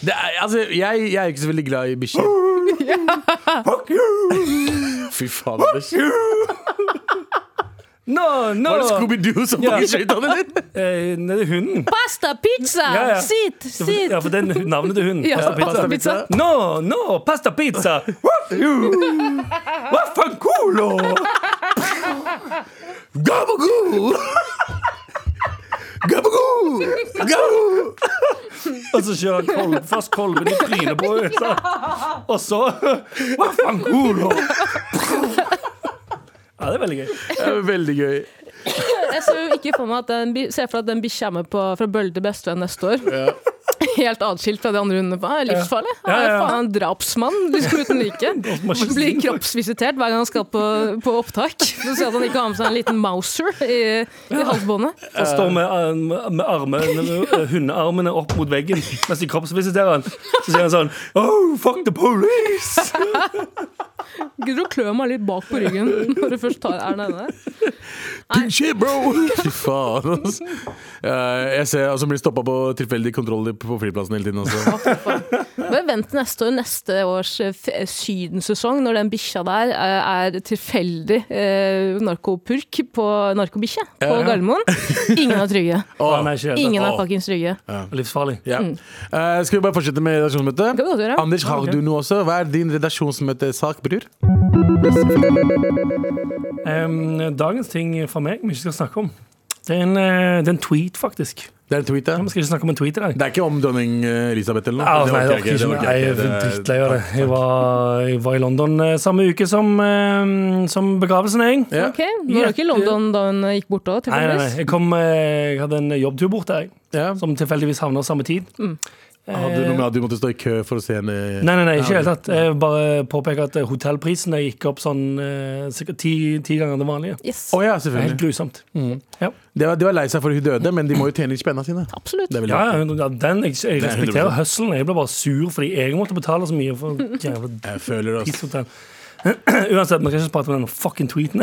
Speaker 2: Det er, altså, jeg, jeg er ikke så veldig glad i bikkjer.
Speaker 3: Fuck you!
Speaker 2: Fy faen. Anders.
Speaker 3: No, no!
Speaker 2: Var det Scooby-Doo som
Speaker 3: Ja.
Speaker 2: tok skøyta, eller?
Speaker 3: Eh, nei, det er hunden.
Speaker 4: Pasta, pizza,
Speaker 3: Ja, ja.
Speaker 4: sit, sit!
Speaker 3: Ja, for det er navnet til hunden.
Speaker 4: Ja,
Speaker 3: Pasta pizza.
Speaker 4: pasta, pizza.
Speaker 3: No, no, pasta pizza! Fuck you! Vaffanculo!
Speaker 2: Gabagoo! Gabagoo! Gabagoo!
Speaker 3: Og så kjører han kolb, fast kolben i trynet på henne. Og så Vaffanculo! Ja, det er veldig gøy.
Speaker 2: Det er veldig gøy.
Speaker 4: Jeg ser jo ikke for meg at den, bi- ser for meg at den bikkja er med på Fra bølle til bestevenn neste år.
Speaker 2: Ja.
Speaker 4: Helt atskilt fra de andre hundene. Faen, det er Livsfarlig. Han
Speaker 3: Ja,
Speaker 4: er
Speaker 3: ja.
Speaker 4: faen en drapsmann liksom uten like. Blir kroppsvisitert hver gang han skal på, på opptak. Så ser at han ikke har med seg en liten mouser i, i halsbåndet.
Speaker 3: Han står med, arm- med armene, med hundearmene opp mot veggen mens de kroppsvisiterer han. Så sier han sånn Oh, fuck the police!
Speaker 4: Gidder du å klø meg litt bak på ryggen når du først tar er den ene?
Speaker 2: Big shit, bro! Fy faen, altså. Eh, Jeg ser altså, blir stoppa på tilfeldige kontroller på flyplassen hele tiden altså. også.
Speaker 4: Bare vent til neste år, neste års eh, f- sydensesong, når den bikkja der eh, er tilfeldig eh, narkopurk på narkobikkje på
Speaker 2: Ja, ja.
Speaker 4: Gardermoen. Ingen er trygge.
Speaker 3: Å, nei, ikke helt.
Speaker 4: Ingen er
Speaker 2: Åh.
Speaker 4: fuckings trygge.
Speaker 3: Livsfarlig.
Speaker 2: Ja. Eh, skal vi bare fortsette med redaksjonsmøtet?
Speaker 4: Mm. Kan vi godt gjøre.
Speaker 2: Anders, har
Speaker 3: ok.
Speaker 2: du noe også? Hva er din redaksjonsmøtesak, bror?
Speaker 3: Em, dagens ting for meg vi ikke skal snakke om, det er en, eh, det er en tweet, faktisk.
Speaker 2: Det er en tweet, ja.
Speaker 3: Vi skal ikke snakke om en tweet i dag.
Speaker 2: Det er ikke om dronning eh, Elisabeth eller noe?
Speaker 3: Ah,
Speaker 2: Det
Speaker 3: nei,
Speaker 2: orker jeg
Speaker 3: det orker ikke.
Speaker 2: det orker
Speaker 3: Nei,
Speaker 2: jeg
Speaker 3: jeg
Speaker 2: ikke.
Speaker 3: er
Speaker 2: Det-
Speaker 3: drittlei av det. Jeg var, jeg var i London eh, samme uke som, eh, som begravelsen, jeg.
Speaker 2: Ja.
Speaker 4: Ok, Nå var det ikke i London da hun eh, gikk bort òg,
Speaker 3: Nei, nei, nei.
Speaker 4: tilfeldigvis?
Speaker 3: Jeg, kom, eh, jeg hadde en jobbtur bort der, jeg,
Speaker 2: Ja.
Speaker 3: som tilfeldigvis havna samme tid. Eh,
Speaker 2: Eh, Hadde du noe med at du måtte stå i kø for å se henne?
Speaker 3: Nei, nei, nei, ikke i det hele tatt. Jeg vil bare påpeke at eh, hotellprisene gikk opp sånn eh, sikkert ti, ti ganger det vanlige.
Speaker 4: Yes,
Speaker 2: Å ja,
Speaker 3: Det er
Speaker 2: selvfølgelig.
Speaker 3: Helt grusomt. Ja,
Speaker 2: De var, de var lei seg for hun døde, men de må jo tjene litt spenna sine.
Speaker 4: absolutt.
Speaker 2: Det er vel
Speaker 3: ja, ja, ja den, jeg, jeg
Speaker 2: Det er 100%.
Speaker 3: respekterer høsselen. Jeg ble bare sur fordi jeg måtte betale så mye for jævla
Speaker 2: Jeg føler det. altså.
Speaker 3: Pisshotell. Uansett, vi kan ikke prate om den fucking tweeten.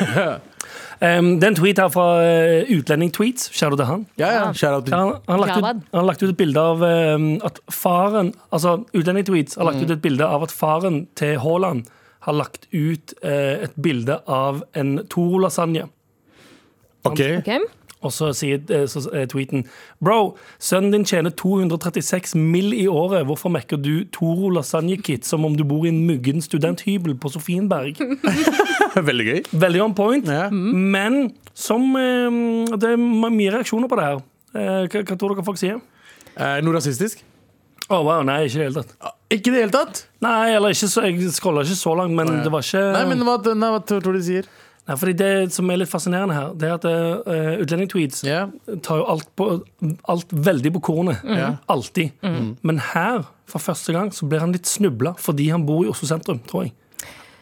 Speaker 3: um, det er en tweet her fra uh, Utlending Tweets. Shadow til han.
Speaker 2: Ja, ja. Shout out til
Speaker 3: Han han har lagt, ut-
Speaker 4: Javad.
Speaker 3: han har lagt ut et bilde av um, at faren Altså, Utlending Tweets har lagt ut et bilde av at faren til Haaland har lagt ut eh, et bilde av en Toro-lasagne.
Speaker 2: OK.
Speaker 4: Ok.
Speaker 3: Og så sier eh, så, eh, tweeten Bro, sønnen din tjener 236 mill. i året. Hvorfor mekker du Toro lasagne-kit som om du bor i en muggen studenthybel på Sofienberg?
Speaker 2: Veldig gøy.
Speaker 3: Veldig on point.
Speaker 2: Ja.
Speaker 4: Mm.
Speaker 3: Men som eh, Det er mye reaksjoner på det her. Eh, hva, hva tror dere folk
Speaker 2: Er
Speaker 3: sier?
Speaker 2: det Eh, noe rasistisk?
Speaker 3: Å, wow, nei, Ah, ikke i det hele tatt.
Speaker 2: Ikke i det hele tatt.
Speaker 3: Nei, eller ikke så, Jeg scrolla ikke så langt, men det var ikke
Speaker 2: Nei, men hva, nei, hva tror du de sier?
Speaker 3: Nei, fordi Det som er litt fascinerende her, Det er at uh, utlendingtweets
Speaker 2: Ja.
Speaker 3: tar jo alt, på, alt veldig på kornet.
Speaker 2: Mm. Ja. Mm.
Speaker 3: Alltid. Men her, for første gang, så blir han litt snubla fordi han bor i Oslo sentrum, tror jeg.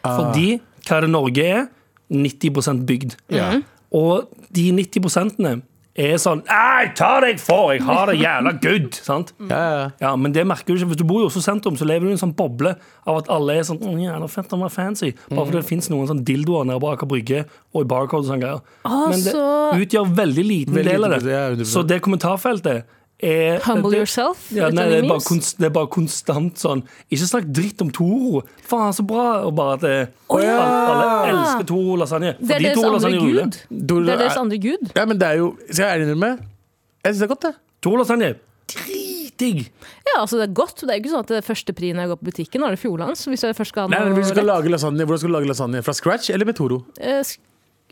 Speaker 2: Ah.
Speaker 3: Fordi
Speaker 4: Mm.
Speaker 3: hva er det Norge er? 90 bygd.
Speaker 2: Ja.
Speaker 3: Og de 90 er er sånn Nei, ta deg for! Jeg har det jævla good! Sant?
Speaker 2: Ja, ja, ja.
Speaker 3: Ja, men det merker du ikke. Hvis du bor i Oslo sentrum, så lever du i en sånn boble av at alle er sånn «Å, jævla fett, han var fancy. Bare fordi det fins noen sånn dildoer nede på Aker Brygge og i Barcode og sånne greier.
Speaker 4: Ah,
Speaker 3: men det
Speaker 4: så-
Speaker 3: utgjør veldig liten
Speaker 2: Veldig
Speaker 3: del av
Speaker 2: liten, ja,
Speaker 3: det.
Speaker 2: 100%.
Speaker 3: Så det kommentarfeltet er
Speaker 4: Humble
Speaker 3: det,
Speaker 4: yourself?
Speaker 3: Ja,
Speaker 4: litt
Speaker 3: nei, det er, bare
Speaker 4: anonymt.
Speaker 3: konst, det er bare konstant sånn Ikke snakk dritt om Toro! Faen, så bra! Og bare at det, alle, alle elsker Toro lasagne.
Speaker 4: Det er
Speaker 3: fordi
Speaker 4: deres
Speaker 3: Toro
Speaker 4: andre
Speaker 3: lasagne ruler.
Speaker 4: gud.
Speaker 2: Toro-
Speaker 4: Det er deres andre gud.
Speaker 2: ja, men det er jo Skal jeg ærlig innrømme? Jeg syns det er godt, det.
Speaker 3: Toro lasagne dritdigg!
Speaker 4: Ja, altså det er godt. Det er ikke sånn at det er første pri når jeg går på butikken, er det Fjordlands. Hvis jeg først skal ha
Speaker 2: Nei,
Speaker 4: noe
Speaker 2: men hvis du skal
Speaker 4: rett.
Speaker 2: lage lasagne, Hvordan skal du lage lasagne? Fra scratch eller med Toro?
Speaker 4: Eh, sk-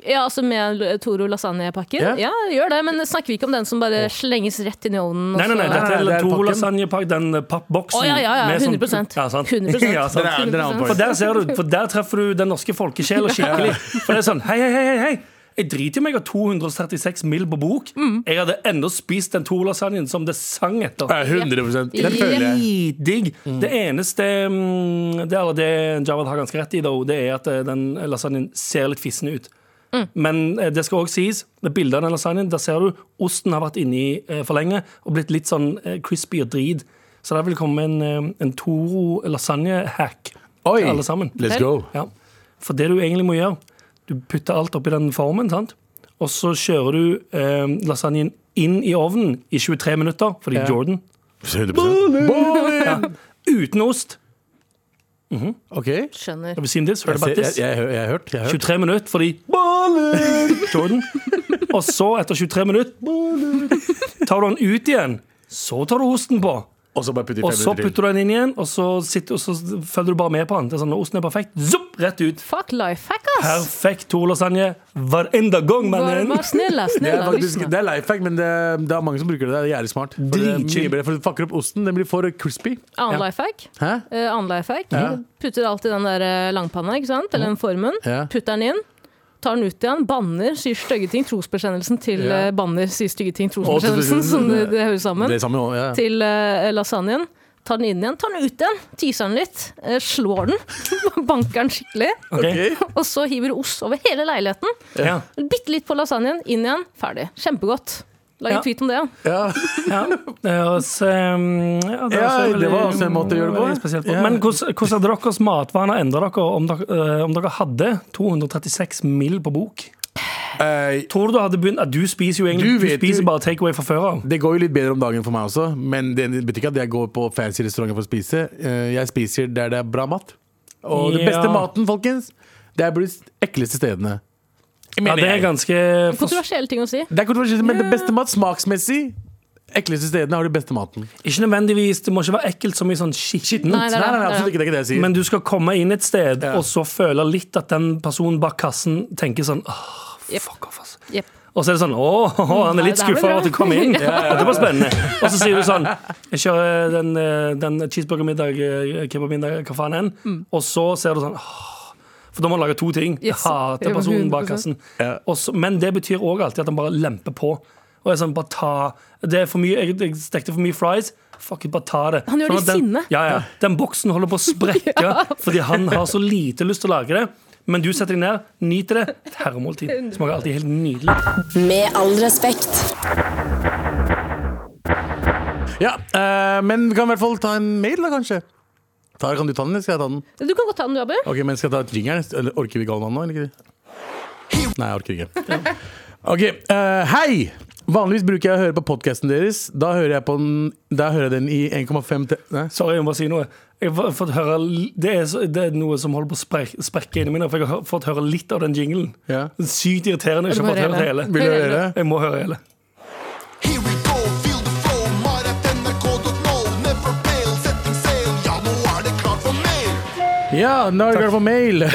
Speaker 4: Ja, altså med l- Toro lasagnepakken.
Speaker 2: Ja.
Speaker 4: Ja, gjør det, men snakker vi ikke om den som bare slenges rett inn i ovnen? altså?
Speaker 3: Nei,
Speaker 4: og
Speaker 3: nei, nei,
Speaker 4: så-
Speaker 2: Altså, Nei,
Speaker 3: dette
Speaker 2: nei, det
Speaker 3: er
Speaker 2: er
Speaker 3: Toro
Speaker 2: pakken.
Speaker 3: lasagnepakk, den eh, pappboksen.
Speaker 4: Å ja, ja, ja,
Speaker 3: med sånn-
Speaker 4: 100%.
Speaker 3: Ja, sant?
Speaker 4: 100%.
Speaker 3: Ja, sant?
Speaker 2: Den er- den er on point.
Speaker 3: For der ser du, for der treffer du den norske folkesjela skikkelig. For det er sånn, hei, hei, hei, hei, hei. Jeg driter i om jeg har 236 mil på bok.
Speaker 4: Mm.
Speaker 3: Jeg hadde ennå spist den Toro-lasagnen som det sang etter.
Speaker 2: Ja, 100
Speaker 4: Ja.
Speaker 2: Den føler jeg.
Speaker 3: Digg. Det eneste mm, Det, eller det Javad har ganske rett i, though, det er at eh, den lasagnen ser litt fissen ut.
Speaker 2: Mm.
Speaker 3: Men eh, det skal òg sies, det bildet av den lasagnen, der ser du osten har vært inni eh, for lenge og blitt litt sånn eh, crispy og drit. Så der vil komme en, eh, en Toro lasagne-hack
Speaker 2: Oi!
Speaker 3: til alle sammen.
Speaker 2: Let's go.
Speaker 3: Ja. For det du egentlig må gjøre, du putter alt oppi den formen, sant? og så kjører du eh, lasagnen inn i ovnen i 23 minutter, fordi Jordan
Speaker 2: 100 Bolle!
Speaker 3: Uten ost.
Speaker 2: OK.
Speaker 4: Skjønner.
Speaker 3: Have you seen this? Heard
Speaker 2: Jeg, ser,
Speaker 3: about
Speaker 2: jeg,
Speaker 3: this?
Speaker 2: jeg, jeg, har hørt. Jeg har hørt.
Speaker 3: 23 minutter fordi Jordan. Og så, etter 23 minutter, tar du den ut igjen. Så tar du osten på.
Speaker 2: Og så bare putter
Speaker 3: Og
Speaker 2: vi
Speaker 3: så
Speaker 2: fem minutter til.
Speaker 3: putter du den inn igjen, og så, sitter, og så følger du bare med på den. Det er sånn, Når osten er perfekt, zopp, rett ut.
Speaker 4: Fuck life hack, ass!
Speaker 3: Perfekt to lasagne hver enda gang,
Speaker 4: Bare
Speaker 3: mannen.
Speaker 4: bare snilla,
Speaker 2: Det er,
Speaker 4: snilla.
Speaker 2: faktisk,
Speaker 4: lyssna.
Speaker 2: det er life hack, men det, det er mange som bruker det. Det er jævlig smart. For, det er
Speaker 3: Dritchill.
Speaker 2: mye bedre, for du fucker opp osten. Den blir for crispy.
Speaker 4: Annen
Speaker 3: Ja.
Speaker 4: life hack.
Speaker 2: Hæ?
Speaker 4: Eh, annen life hack.
Speaker 2: Ja.
Speaker 4: Putter alt i den der eh, langpanna, ikke sant? eller den formen.
Speaker 2: Ja.
Speaker 4: Putter den inn. Tar den ut igjen, banner, sier stygge ting. Trosbekjennelsen til
Speaker 2: Ja.
Speaker 4: eh, banner, sier stygge ting. Trosbekjennelsen, som det, det hører sammen.
Speaker 2: Det er samme, ja.
Speaker 4: til eh, lasagnen. Tar den inn igjen, tar den ut igjen, teaser den litt, eh, slår den, banker den skikkelig.
Speaker 3: Ok.
Speaker 2: Ok.
Speaker 4: Og så hiver du ost over hele leiligheten.
Speaker 3: Ja.
Speaker 4: Bitte litt på lasagnen, inn igjen, ferdig. Kjempegodt. Lag en
Speaker 3: Ja.
Speaker 4: tweet om det. ja.
Speaker 2: Ja.
Speaker 3: Ja, det høres um, ja,
Speaker 2: Ja,
Speaker 3: høres
Speaker 2: det var
Speaker 3: veldig-
Speaker 2: også en måte å gjøre det på.
Speaker 3: veldig spesielt
Speaker 2: Ja.
Speaker 3: Men hvordan hvordan hadde deres matvaner endra dere om dere, eh, om dere hadde 236 mill. på bok?
Speaker 2: Eh,
Speaker 3: Tror du du hadde begynt at Du spiser jo egentlig
Speaker 2: Du
Speaker 3: Du,
Speaker 2: vet
Speaker 3: spiser
Speaker 2: jo-
Speaker 3: bare takeaway fra før av.
Speaker 2: Det går jo litt bedre om dagen for meg også, men det betyr ikke at jeg går på fancy restauranter for å spise. Eh, Jeg spiser der det er bra mat. Og den beste
Speaker 3: Ja.
Speaker 2: maten, folkens, det er på de ekleste stedene.
Speaker 3: Ja, det er ganske
Speaker 4: Kontroversielle ting å si.
Speaker 2: Det er kontroversielt, men det beste mat smaksmessig Ekleste stedene har de beste maten.
Speaker 3: Ikke nødvendigvis, det må ikke være ekkelt som i sånn skittent.
Speaker 4: Nei, det
Speaker 2: Nei,
Speaker 4: er
Speaker 2: nei, nei,
Speaker 4: det.
Speaker 2: absolutt ikke, det er ikke det jeg sier.
Speaker 3: Men du skal komme inn et sted
Speaker 2: Ja.
Speaker 3: og så føle litt at den personen bak kassen tenker sånn Åh,
Speaker 4: Jep.
Speaker 3: fuck off, altså.
Speaker 4: Jepp.
Speaker 3: Og så er det sånn Å, han
Speaker 4: Mm, Nei,
Speaker 3: er litt
Speaker 4: det er vel
Speaker 3: skuffa over at
Speaker 4: bra.
Speaker 3: du kom inn. Og det var spennende. Og så sier du sånn Jeg kjører den, eh, den cheeseburgermiddag, eh, kebabmiddag, hva faen enn. Og så ser du sånn «Åh». For da må han lage to ting. Jeg
Speaker 4: Mm. Yes.
Speaker 3: hater
Speaker 4: Ja,
Speaker 3: personen bak
Speaker 4: 100%.
Speaker 3: kassen. Og så- men det betyr òg alltid at han bare lemper på. Og er sånn, bare ta Det er for mye, jeg, jeg stekte for mye fries. Fuck it, bare ta det. Sånn
Speaker 4: Han gjør det i
Speaker 3: at den-
Speaker 4: sinne.
Speaker 3: ja, ja. Den boksen holder på å sprekke fordi han har så lite lyst til å lage det. Men du setter deg ned, nyter det. Et herremåltid. Smaker alltid helt nydelig.
Speaker 5: Med all respekt.
Speaker 2: Ja, eh, Men vi kan i hvert fall ta en mail, da, kanskje. Tara, kan du ta den, eller skal jeg ta den?
Speaker 4: Du kan godt ta den, du, Abu.
Speaker 2: Ok, men skal jeg ta jingeren? Eller orker vi ikke ha den nå, eller ikke? Nei, jeg orker ikke. Ok, eh, hei! Vanligvis bruker jeg å høre på podcasten deres. Da hører jeg, på den, da hører jeg den i 1,5 til... Nei.
Speaker 3: Sorry, jeg må bare si noe. Jeg har fått høre, l- det, er, så- det er noe som holder på å sprek- sprekke inni mine, for jeg har hø- fått høre litt av den jinglen.
Speaker 2: Ja.
Speaker 3: Sykt irriterende. Jeg
Speaker 4: Du
Speaker 3: har
Speaker 4: må
Speaker 3: fått høre
Speaker 4: høre
Speaker 3: hele.
Speaker 2: Vil du høre det?
Speaker 3: Jeg må høre hele.
Speaker 6: Here we go, feel the flow, mar at nrk.no. Never fail, setting sail, ja nå er det klart for mer.
Speaker 2: Ja, nå er det klart for mail!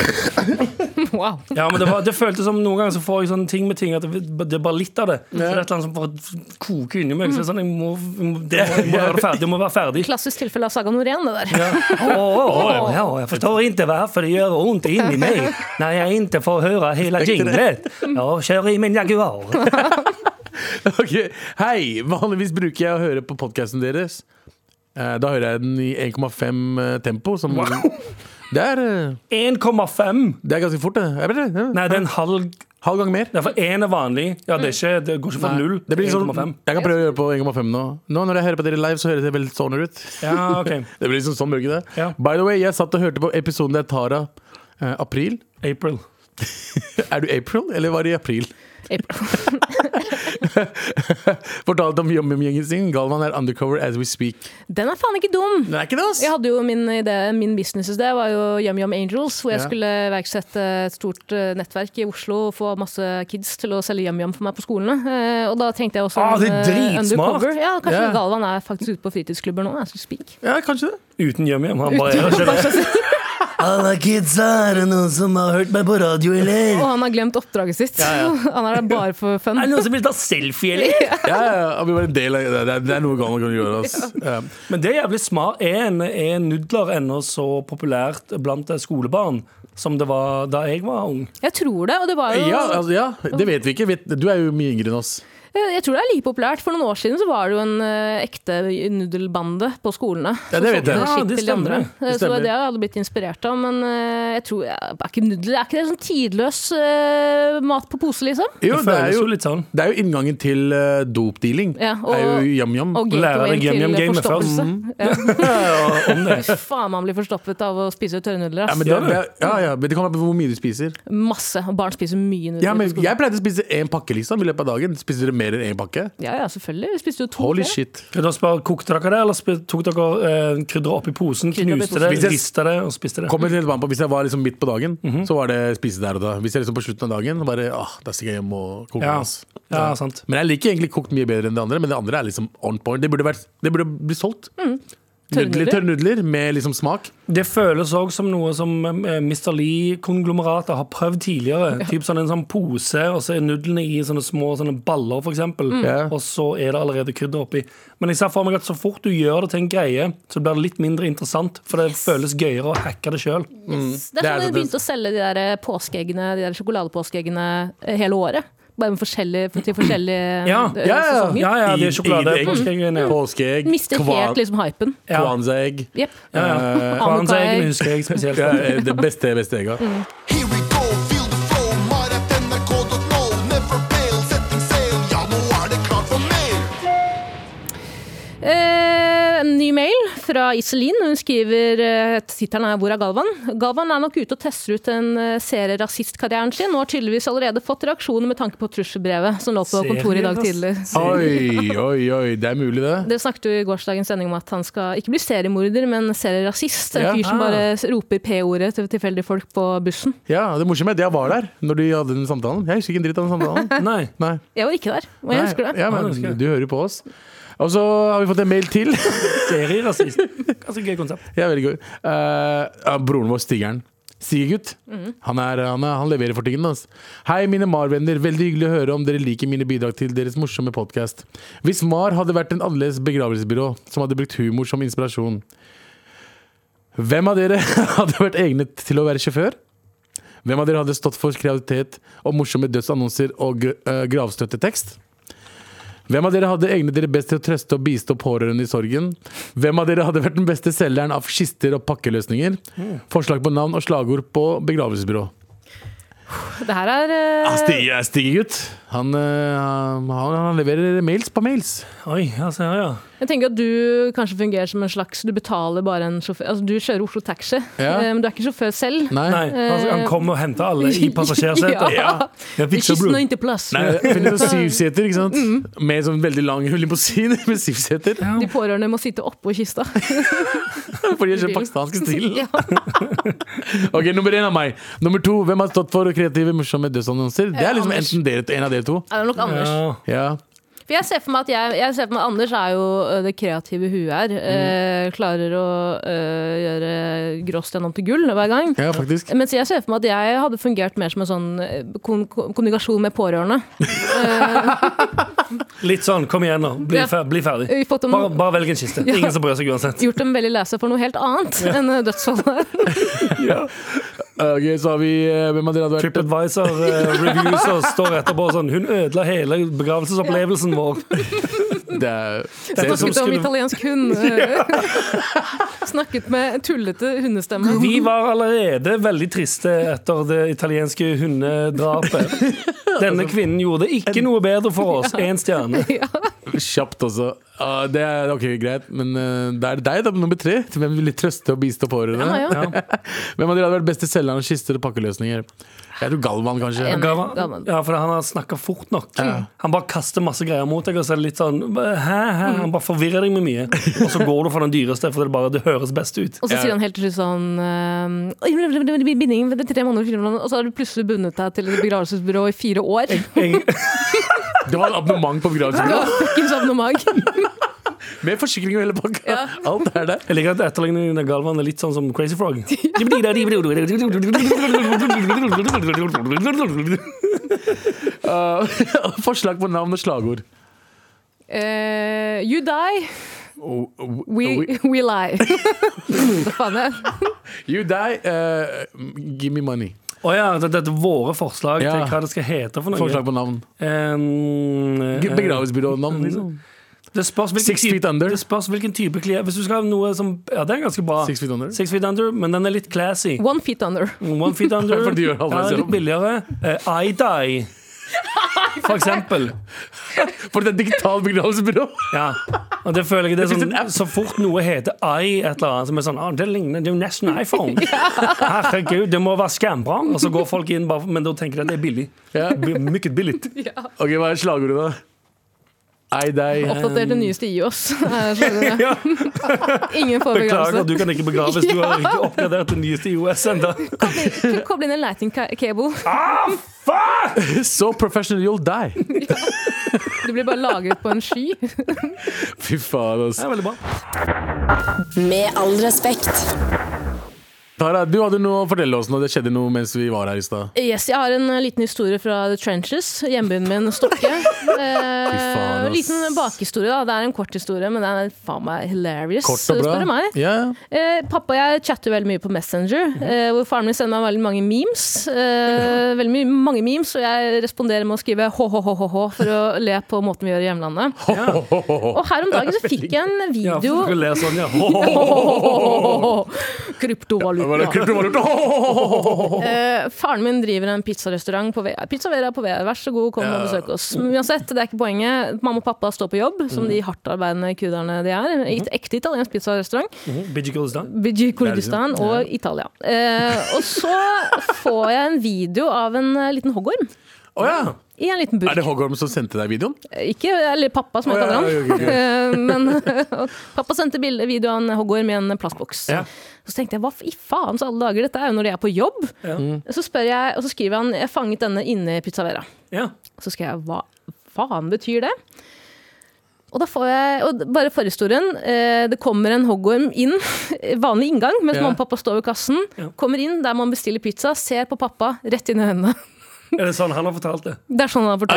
Speaker 4: Wow.
Speaker 3: Ja, men det, var, det føltes som noen ganger så får jeg sånne ting med ting at det, det er bare litt av det. Så det er et eller annet som bare koker inni meg. Så jeg er sånn, jeg må, jeg må, det, jeg må, være ferdig, jeg må være ferdig.
Speaker 4: Klassisk tilfelle av Saga Norén, det der.
Speaker 3: Ja. Åh, åh, åh, ja, jag förstår inte varför det gör ont in i mig när jag inte får höra hela jinglet. Jag kör i min Jaguar.
Speaker 2: Ok, Hei! Vanligvis bruker jeg å høre på podcasten deres. Eh, Da hører jeg den i 1,5 tempo. Som, det, er, eh,
Speaker 3: 1,5.
Speaker 2: det er ganske fort, det. Jeg vet det.
Speaker 3: Nej, det är en halv
Speaker 2: Halv gang mer.
Speaker 3: Derfor én er vanlig. Ja, det, er ikke, det går ikke fra null
Speaker 2: Det blir
Speaker 3: til
Speaker 2: sånn,
Speaker 3: 1,5.
Speaker 2: jeg kan prøve å gjøre på 1,5 nå. Nå Når jeg hører på dere live, så høres jeg veldig stoner ut.
Speaker 3: Ja, OK.
Speaker 2: Det blir liksom sånn, blir det ikke det?
Speaker 3: Ja.
Speaker 2: By the way, jeg satt og hørte på episoden der Tara eh, April.
Speaker 3: April.
Speaker 2: Er du April, eller var det i april?
Speaker 4: April.
Speaker 2: Fortalte om Yum-Yum-gjengen sin. Galvan er undercover as we speak.
Speaker 4: Den er faen ikke dum!
Speaker 2: Det er ikke det, ass!
Speaker 4: Jeg hadde jo min, idé, min business i sted, var jo Yum Yum Angels, hvor jeg
Speaker 2: Ja.
Speaker 4: skulle iverksette et stort eh, nettverk i Oslo og få masse kids til å selge Yum Yum for meg på skolene. Eh, Og da tenkte jeg også
Speaker 3: Ah, det er
Speaker 4: eh,
Speaker 3: dritsmart!
Speaker 4: undercover. Ja, kanskje
Speaker 2: Ja.
Speaker 4: Galvan er faktisk ute på fritidsklubber nå, jeg skal speak.
Speaker 2: Ja, kanskje det.
Speaker 3: Uten yum-yum. Han bare er ikke det.
Speaker 7: Alla kidsa, er det noen som har hørt meg på radio,
Speaker 3: Mm.
Speaker 7: eller?
Speaker 4: Og han har glemt oppdraget sitt. han er der bare for fun.
Speaker 3: Er det noen som vil ta selfie, eller?
Speaker 2: Ja, ja, ja, vi var en del av det. Det er, det er noe Galvan kan gjøre, ass. Ja.
Speaker 3: Men det er jævlig smart. Er, en- er nudler ennå så populært blant skolebarn som det var da jeg var ung?
Speaker 4: Jeg tror det, og det var jo
Speaker 2: Ja, altså, ja, det vet vi ikke. Vet- Du er jo mye yngre enn oss.
Speaker 4: Jeg jeg tror det er like populært. For noen år siden så var det jo en eh, ekte nudelbande på skolene.
Speaker 2: Ja, det vet jeg.
Speaker 4: Som
Speaker 3: Ja, det
Speaker 4: solgte skitt til de
Speaker 3: stemmer,
Speaker 4: andre. Eh,
Speaker 2: Det
Speaker 3: det.
Speaker 4: Så det
Speaker 2: stemmer.
Speaker 4: var det jeg hadde blitt inspirert av. Men eh, jeg tror, er ikke nudler er ikke det sånn tidløs eh, mat på pose, liksom?
Speaker 2: Jo,
Speaker 3: det
Speaker 2: det er
Speaker 3: føles jo
Speaker 2: jo,
Speaker 3: litt sånn.
Speaker 2: det er jo inngangen til eh, dopdealing.
Speaker 4: Ja, og-
Speaker 2: er jo yum-yum.
Speaker 4: Og
Speaker 3: Lære deg Yum Yum
Speaker 4: gatewayen til
Speaker 3: Game
Speaker 4: forstoppelse.
Speaker 3: Og om det.
Speaker 4: Ja. Faen, man blir forstoppet av å spise tørre nudler.
Speaker 2: Ja,
Speaker 4: ass.
Speaker 2: men det, det, ja, ja, men det kommer an på hvor mye du spiser.
Speaker 4: Masse. Og barn spiser mye nudler.
Speaker 2: Ja, men
Speaker 4: på skolen.
Speaker 2: jeg pleide å spise én pakke liksom, i løpet av dagen. Spiser dere mer enn én pakke?
Speaker 4: ja, ja, selvfølgelig. Vi spiste jo to.
Speaker 2: Holy
Speaker 4: flere.
Speaker 2: shit.
Speaker 3: Kan dere spørre, Kokte dere det, eller sp- tok dere eh, krydderet oppi posen,
Speaker 4: Krydder oppi
Speaker 3: knuste
Speaker 4: posen.
Speaker 3: det,
Speaker 2: Hvis jeg-
Speaker 3: rista det og spiste det?
Speaker 2: Kommer helt an på, Hvis jeg var liksom midt på dagen,
Speaker 3: Mhm.
Speaker 2: så var det spise der og da. Hvis jeg liksom på slutten av dagen, bare ah, da stikker jeg hjem og koker.
Speaker 3: Ja.
Speaker 2: ass.
Speaker 3: ja, sant.
Speaker 2: Men jeg liker egentlig kokt mye bedre enn det andre, men det andre er liksom on point. Det burde, vært, det burde bli solgt.
Speaker 3: Mm,
Speaker 2: Nudler,
Speaker 4: Tørrnudler.
Speaker 2: tørre nudler med liksom smak.
Speaker 3: Det føles òg som noe som eh, Mr. Lee-konglomerater har prøvd tidligere. Typ sånn en sånn pose, og så er nudlene i sånne små sånne baller, f.eks.
Speaker 2: Ja.
Speaker 3: Og så er det allerede krydder oppi. Men jeg ser for meg at så fort du gjør det til en greie, så blir det litt mindre interessant, for det føles gøyere å hacke det sjøl.
Speaker 4: Det
Speaker 2: Mm. Det
Speaker 4: er
Speaker 2: er
Speaker 4: sånn
Speaker 2: det
Speaker 4: de begynte å selge de der eh, påskeeggene, de der sjokoladepåskeeggene eh, hele året. Bare med forskjellige, til forskjellige
Speaker 3: Ja,
Speaker 4: eh,
Speaker 2: ja, ja.
Speaker 4: sesonger.
Speaker 3: Ja, ja,
Speaker 2: I-
Speaker 3: det er sjokolade.
Speaker 2: i-
Speaker 3: Påskeegg, ja.
Speaker 2: Påskeegg,
Speaker 4: Mister
Speaker 2: kva-
Speaker 4: helt liksom hypen.
Speaker 3: Ja.
Speaker 2: kwanza-egg.
Speaker 4: Jepp.
Speaker 3: Ja, ja.
Speaker 4: Amokai.
Speaker 3: Kwanza-eggene husker jeg spesielt.
Speaker 2: Ja, eh, det beste, beste egga.
Speaker 4: Mm.
Speaker 6: Here we go, feel the flow, maratnrk.no. Never fail, setting sail, ja, nå er det klart for mer.
Speaker 4: Eh, en ny mail fra Iselin. Hun skriver eh, Tittelen er 'Hvor er Galvan?' Galvan er nok ute og tester ut en eh, serie rasistkarrieren sin, og har tydeligvis allerede fått reaksjoner med tanke på trusselbrevet som lå på kontoret i dag tidlig.
Speaker 3: altså.
Speaker 2: Oi, oi, oi. Det er mulig, det.
Speaker 4: Dere snakket jo i gårsdagens sending om at han skal ikke bli seriemorder, men serierasist. En
Speaker 2: Ja. Ah.
Speaker 4: fyr som bare roper P-ordet til tilfeldige folk på bussen.
Speaker 2: Ja, Det morsomme er at jeg var der når de hadde den samtalen. Jeg husker ikke en dritt av den samtalen.
Speaker 3: Nei.
Speaker 2: Nei.
Speaker 4: Jeg var ikke der, og jeg
Speaker 2: Nei,
Speaker 4: husker det.
Speaker 2: Ja,
Speaker 3: Ja, jeg husker
Speaker 2: men
Speaker 3: det.
Speaker 2: du hører jo på oss. Og så har vi fått en mail til.
Speaker 3: Serierasist. Ganske gøy konsept.
Speaker 2: Jeg er veldig god. Eh, ja, broren vår, Stigeren. Stigegutt. Han, er, han, er, han leverer for tingene. Altså. Hei, mine Mar-venner. Veldig hyggelig å høre om dere liker mine bidrag til deres morsomme podkast. Hvis Mar hadde vært en annerledes begravelsesbyrå som hadde brukt humor som inspirasjon, hvem av dere hadde vært egnet til å være sjåfør? Hvem av dere hadde stått for kreativitet og morsomme dødsannonser og gr- eh, gravstøttetekst? Hvem av dere hadde egnet dere best til å trøste og bistå pårørende i sorgen? Hvem av dere hadde vært den beste selgeren av kister og pakkeløsninger? Forslag på navn og slagord på begravelsesbyrå.
Speaker 4: Det her er
Speaker 2: Ah,
Speaker 4: eh,
Speaker 2: Stigegutt. Han, eh, han, han leverer mails på mails.
Speaker 3: Oi, ja, se her, ja.
Speaker 4: Jeg tenker at du kanskje fungerer som en slags Du betaler bare en sjåfør Altså, du kjører Oslo Taxi,
Speaker 2: Ja.
Speaker 4: eh, men du er ikke sjåfør selv.
Speaker 2: Nei.
Speaker 3: Nei, han, han kom og henta alle i passasjersetet.
Speaker 4: Ja.
Speaker 3: Jeg
Speaker 4: Vi
Speaker 3: fikser
Speaker 4: kisten
Speaker 3: blod.
Speaker 4: og ikke plass.
Speaker 2: Nei, finner sånn syvseter, ikke sant? Med sånn veldig lang limousin med syvseter.
Speaker 4: De pårørende må sitte oppå kista.
Speaker 2: Fordi jeg kjører pakistansk stil. Ok, Nummer én av meg. Nummer to, hvem har stått for kreative, morsomme dødsannonser? Det er liksom
Speaker 4: Anders.
Speaker 2: enten dere, en av dere to.
Speaker 4: Det er nok Anders.
Speaker 3: Ja.
Speaker 2: Ja.
Speaker 4: For jeg ser for meg at jeg, jeg ser for meg at Anders er jo ø, det kreative huet her. Eh, klarer å ø, gjøre gråst gjennom til gull hver gang.
Speaker 2: ja, faktisk.
Speaker 4: Mens jeg ser for meg at jeg hadde fungert mer som en sånn ø, kon kon- kommunikasjon med pårørende.
Speaker 3: Litt sånn, kom igjen nå. Bli,
Speaker 4: Ja.
Speaker 3: fer bli ferdig.
Speaker 4: Vi fått dem,
Speaker 3: Bare, bare velg en kiste.
Speaker 4: Ja.
Speaker 3: Ingen som bryr seg uansett.
Speaker 4: gjort dem veldig lese for noe helt annet enn ø, dødsfallet.
Speaker 2: Ok, så har vi eh, Hvem av dere hadde vært
Speaker 3: TripAdvisor eh, reviews og står etterpå sånn Hun ødela hele begravelsesopplevelsen vår.
Speaker 2: Det er, det er som
Speaker 4: Snakket om
Speaker 2: skulle
Speaker 4: italiensk hund. eh. Snakket med tullete hundestemme.
Speaker 3: Vi var allerede veldig triste etter det italienske hundedrapet. Denne kvinnen gjorde det ikke noe bedre for oss. Én stjerne.
Speaker 2: sånn kjapt også. Ah, det er ok, greit, men eh, det er deg, da, nummer tre. Til hvem vil du trøste og bistå pårørende?
Speaker 4: Ja, ja.
Speaker 2: Hvem av dere hadde vært best til selgeren av kister og pakkeløsninger? Jeg tror Galvan, kanskje.
Speaker 4: En-
Speaker 3: Gavan,
Speaker 4: Gavan.
Speaker 3: ja, for han har snakka fort nok. Han bare kaster masse greier mot deg, og så er det litt sånn hæ, hæ? Han bare forvirrer deg med mye. Og så går du for den dyreste, for det, bare, det høres best ut.
Speaker 4: Og så sier
Speaker 2: Ja.
Speaker 4: han helt til slutt sånn ehm, «Oi, det blir- det blir Binding ved tre måneder, fire måneder», og så har du plutselig bundet deg til et begravelsesbyrå i fire år.
Speaker 3: Jeg,
Speaker 2: Det var abonnement på
Speaker 4: Du
Speaker 2: begravelsen.
Speaker 4: har fuckings abonnement.
Speaker 2: Med forsikring og hele pakka. Alt er der.
Speaker 3: jeg liker at etterligningen av Galvan er litt sånn som Crazy Frog. Nei,
Speaker 2: Ah, forslag på navn og slagord.
Speaker 4: Eh, you die,
Speaker 2: Oh, oh,
Speaker 4: we,
Speaker 2: oh,
Speaker 4: we lie. Hva faen er det?
Speaker 2: You die, eh, give me money.
Speaker 3: Å ja, det- dette er våre forslag
Speaker 2: Ja.
Speaker 3: til hva det skal hete for noe.
Speaker 2: Forslag på navn.
Speaker 3: Um, eh,
Speaker 2: Begravelsesbyrånavn.
Speaker 3: Det spørs hvilken
Speaker 2: Six
Speaker 3: type-
Speaker 2: Feet Under.
Speaker 3: Det spørs hvilken type klær Hvis du skal ha noe som Ja, det er ganske bra.
Speaker 2: Six Feet Under.
Speaker 3: Six Feet Under, men den er litt classy.
Speaker 4: One feet under.
Speaker 3: One Feet Under.
Speaker 2: For de gjør alle
Speaker 3: ja,
Speaker 2: sammen.
Speaker 3: litt billigere. Eh, I Die. For eksempel.
Speaker 2: For det er digitalt begravelsesbyrå!
Speaker 3: Ja. Og det føler jeg det er
Speaker 2: finnes en
Speaker 3: sånn, Så fort noe heter I et eller annet, som er sånn ah, Det ligner det er jo nesten iPhone. Herregud, det må være skambra. Og så går folk inn, bare, men da tenker de at det er billig.
Speaker 2: Ja.
Speaker 3: Mykket billig.
Speaker 2: Ok, Hva er slagordet, da? Ei deg.
Speaker 4: Oppdater det nyeste i oss. er slagordet.
Speaker 3: Ja.
Speaker 4: Ingen får
Speaker 3: Beklager, du
Speaker 4: begravelse.
Speaker 3: kan ikke begraves. Du har ikke oppgradert det nyeste IOS ennå.
Speaker 4: Koble inn en lighting ca- cable.
Speaker 2: So professional you'll die!
Speaker 4: Du blir bare lagret på en sky.
Speaker 2: Fy faen, ass.
Speaker 3: Det er veldig bra.
Speaker 5: Med all respekt.
Speaker 2: Tara, du hadde noe å fortelle oss nå. Det skjedde noe mens vi var her i stad.
Speaker 4: Yes, jeg har en eh, liten historie fra The Trenches, hjembyen min Stokke. Eh,
Speaker 2: faen, ass.
Speaker 4: liten bakhistorie, da. Det er en kort historie, men den er faen meg hilarious.
Speaker 2: Kort og bra.
Speaker 4: Spør du meg.
Speaker 2: Ja.
Speaker 4: Eh, pappa og jeg chatter veldig mye på Messenger, eh, hvor faren min sender meg veldig mange memes. Eh, veldig mye, mange memes, og jeg responderer med å skrive HHHH for å le på måten vi gjør i hjemlandet. Og her om dagen så fikk jeg en
Speaker 3: Ja,
Speaker 4: video
Speaker 3: for du ler sånn, ja. Ho, ho, ho.
Speaker 2: Var det
Speaker 4: Kryptovaluta.
Speaker 2: kryptovaluta?
Speaker 4: Eh, faren min driver en pizzarestaurant på Vea. Pizza Vera på Vea, vær så god, kom og besøk oss. Men Uansett, det er ikke poenget. Mamma og pappa står på jobb,
Speaker 2: Mm.
Speaker 4: som de hardtarbeidende kurderne de er. I et
Speaker 2: Mhm.
Speaker 4: ekte italiensk pizzarestaurant.
Speaker 3: Bidgie Girls da.
Speaker 4: Biji Kurdistan og Italia. Eh, og så får jeg en video av en eh, liten hoggorm
Speaker 2: Å ja.
Speaker 4: i en liten
Speaker 2: Er det
Speaker 4: burk.
Speaker 2: Hogholm som sendte deg videoen?
Speaker 4: Ikke, eller pappa, som jeg
Speaker 2: Å, ja,
Speaker 4: kaller
Speaker 2: ja, ok, ok.
Speaker 4: han. Eh, Men pappa sendte bilde- video av en hoggorm i en plastboks.
Speaker 3: Ja.
Speaker 4: Så tenkte jeg hva i faen så alle dager, dette er jo når de er på jobb. Så spør jeg, og så skriver han 'jeg fanget denne inne i Pizza Vera'.
Speaker 3: Ja.
Speaker 4: Så skrev jeg hva faen betyr det? Og da får jeg, og bare forhistorien, eh, det kommer en hoggorm inn, vanlig inngang, mens
Speaker 2: Ja.
Speaker 4: mamma og pappa står ved kassen. Kommer inn der man bestiller pizza, ser på pappa rett inn i øynene.
Speaker 3: Er det sånn han har fortalt det?
Speaker 4: Det er sånn han har fortalt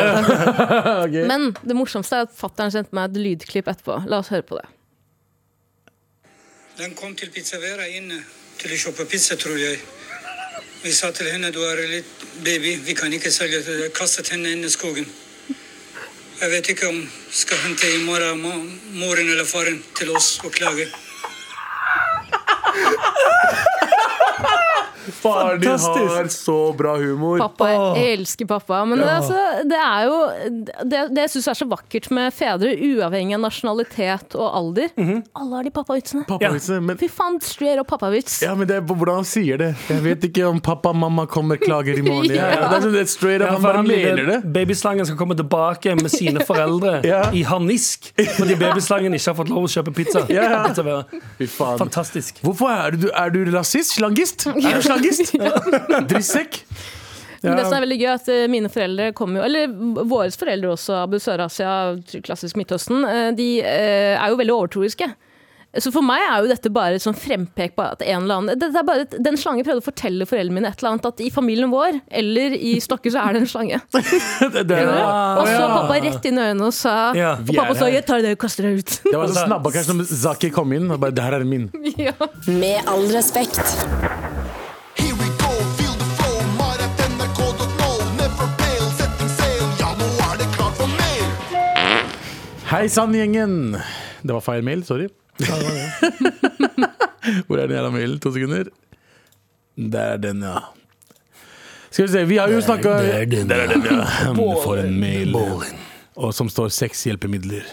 Speaker 4: det.
Speaker 2: Ok.
Speaker 4: Men det morsomste er at fattern sendte meg et lydklipp etterpå. La oss høre på det.
Speaker 8: Den kom til Pizza Vera inne til å kjøpe pizza, tror jeg. Vi sa til henne du er litt baby, vi kan ikke selge til deg. Kastet henne inn i skogen. Jeg vet ikke om skal hente i morgen mo- moren eller faren til oss og klage.
Speaker 2: Faren din
Speaker 3: Fantastisk.
Speaker 2: har så bra humor.
Speaker 4: Pappa, jeg elsker pappa. Men det, altså, det er jo det, det jeg syns er så vakkert med fedre, uavhengig av nasjonalitet og alder. Alle har de pappavitsene.
Speaker 2: Pappavitsen, men
Speaker 4: Fy faen, straight up pappavits.
Speaker 2: ja, men det er på hvordan han sier det. Jeg vet ikke om pappa og mamma kommer klager i morgen.
Speaker 4: Ja.
Speaker 2: Ja, det er sånn, det er straight up,
Speaker 3: Ja,
Speaker 2: Han
Speaker 3: for
Speaker 2: bare
Speaker 3: han
Speaker 2: mener
Speaker 3: lille
Speaker 2: det.
Speaker 3: Babyslangen skal komme tilbake med sine foreldre
Speaker 2: Ja.
Speaker 3: i harnisk fordi babyslangen ikke har fått lov å kjøpe pizza.
Speaker 2: Ja.
Speaker 3: Pizza Vera.
Speaker 2: Fy faen.
Speaker 3: Fantastisk.
Speaker 2: Hvorfor er du, er du rasist? Slangist? Er du slangist? Drittsekk?
Speaker 4: Men det som er veldig gøy, er at eh, mine foreldre kommer jo Eller v- våre foreldre også, Abu Sør-Asia, klassisk Midtøsten, eh, de eh, er jo veldig overtroiske. Så for meg er jo dette bare et sånn frempek på at en eller annen Dette er bare et, Den slangen prøvde å fortelle foreldrene mine et eller annet, at i familien vår, eller i Stokke, så er det en slange.
Speaker 2: Det, det,
Speaker 4: Og så
Speaker 2: ja.
Speaker 4: pappa rett inn i øynene og sa
Speaker 3: Ja,
Speaker 4: Og
Speaker 2: vi er
Speaker 4: pappa sa
Speaker 2: her.
Speaker 4: 'jeg tar det og kaster deg ut'.
Speaker 2: det var så snabba kanskje når Zaki kom inn og bare 'Det her er min'.
Speaker 4: ja.
Speaker 5: Med all respekt.
Speaker 6: Here we go, feel the flow, mar at nrk.no. Never fail, setting sail, ja, nå er det klart for mer.
Speaker 2: Hei sann, gjengen! Det var feil mail, sorry. Hvor er den jævla mailen? To sekunder. Der er den, ja. Skal vi se, vi har jo snakka
Speaker 7: der er den,
Speaker 2: Der er den, ja. Du får en mail Og som står seks hjelpemidler.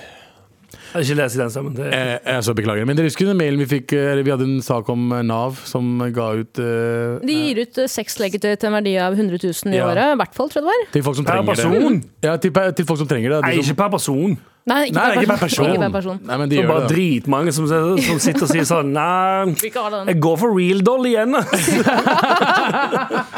Speaker 3: Jeg har ikke lest den sammen. Det er
Speaker 2: Eh, jeg så beklager. Men dere husker den mailen vi fikk eh, eller Vi hadde en sak om eh, Nav som ga ut eh,
Speaker 4: De gir ut eh, seks leketøy til en verdi av 100 000 i
Speaker 2: Ja.
Speaker 4: året. I hvert fall, tror jeg det var.
Speaker 2: til folk som
Speaker 3: Per
Speaker 2: trenger det.
Speaker 3: person?
Speaker 2: Ja, til, pe- til folk som trenger det.
Speaker 3: Nei,
Speaker 2: De som,
Speaker 3: ikke per person.
Speaker 4: Nei,
Speaker 2: nei, det er ikke per person.
Speaker 4: Ikke per person.
Speaker 2: Nei, men
Speaker 3: Det
Speaker 2: de
Speaker 3: er
Speaker 2: gjør
Speaker 3: bare
Speaker 2: det. da.
Speaker 3: dritmange som, som sitter og sier sånn Nei,
Speaker 4: Vi ikke har den.
Speaker 3: jeg går for real doll igjen.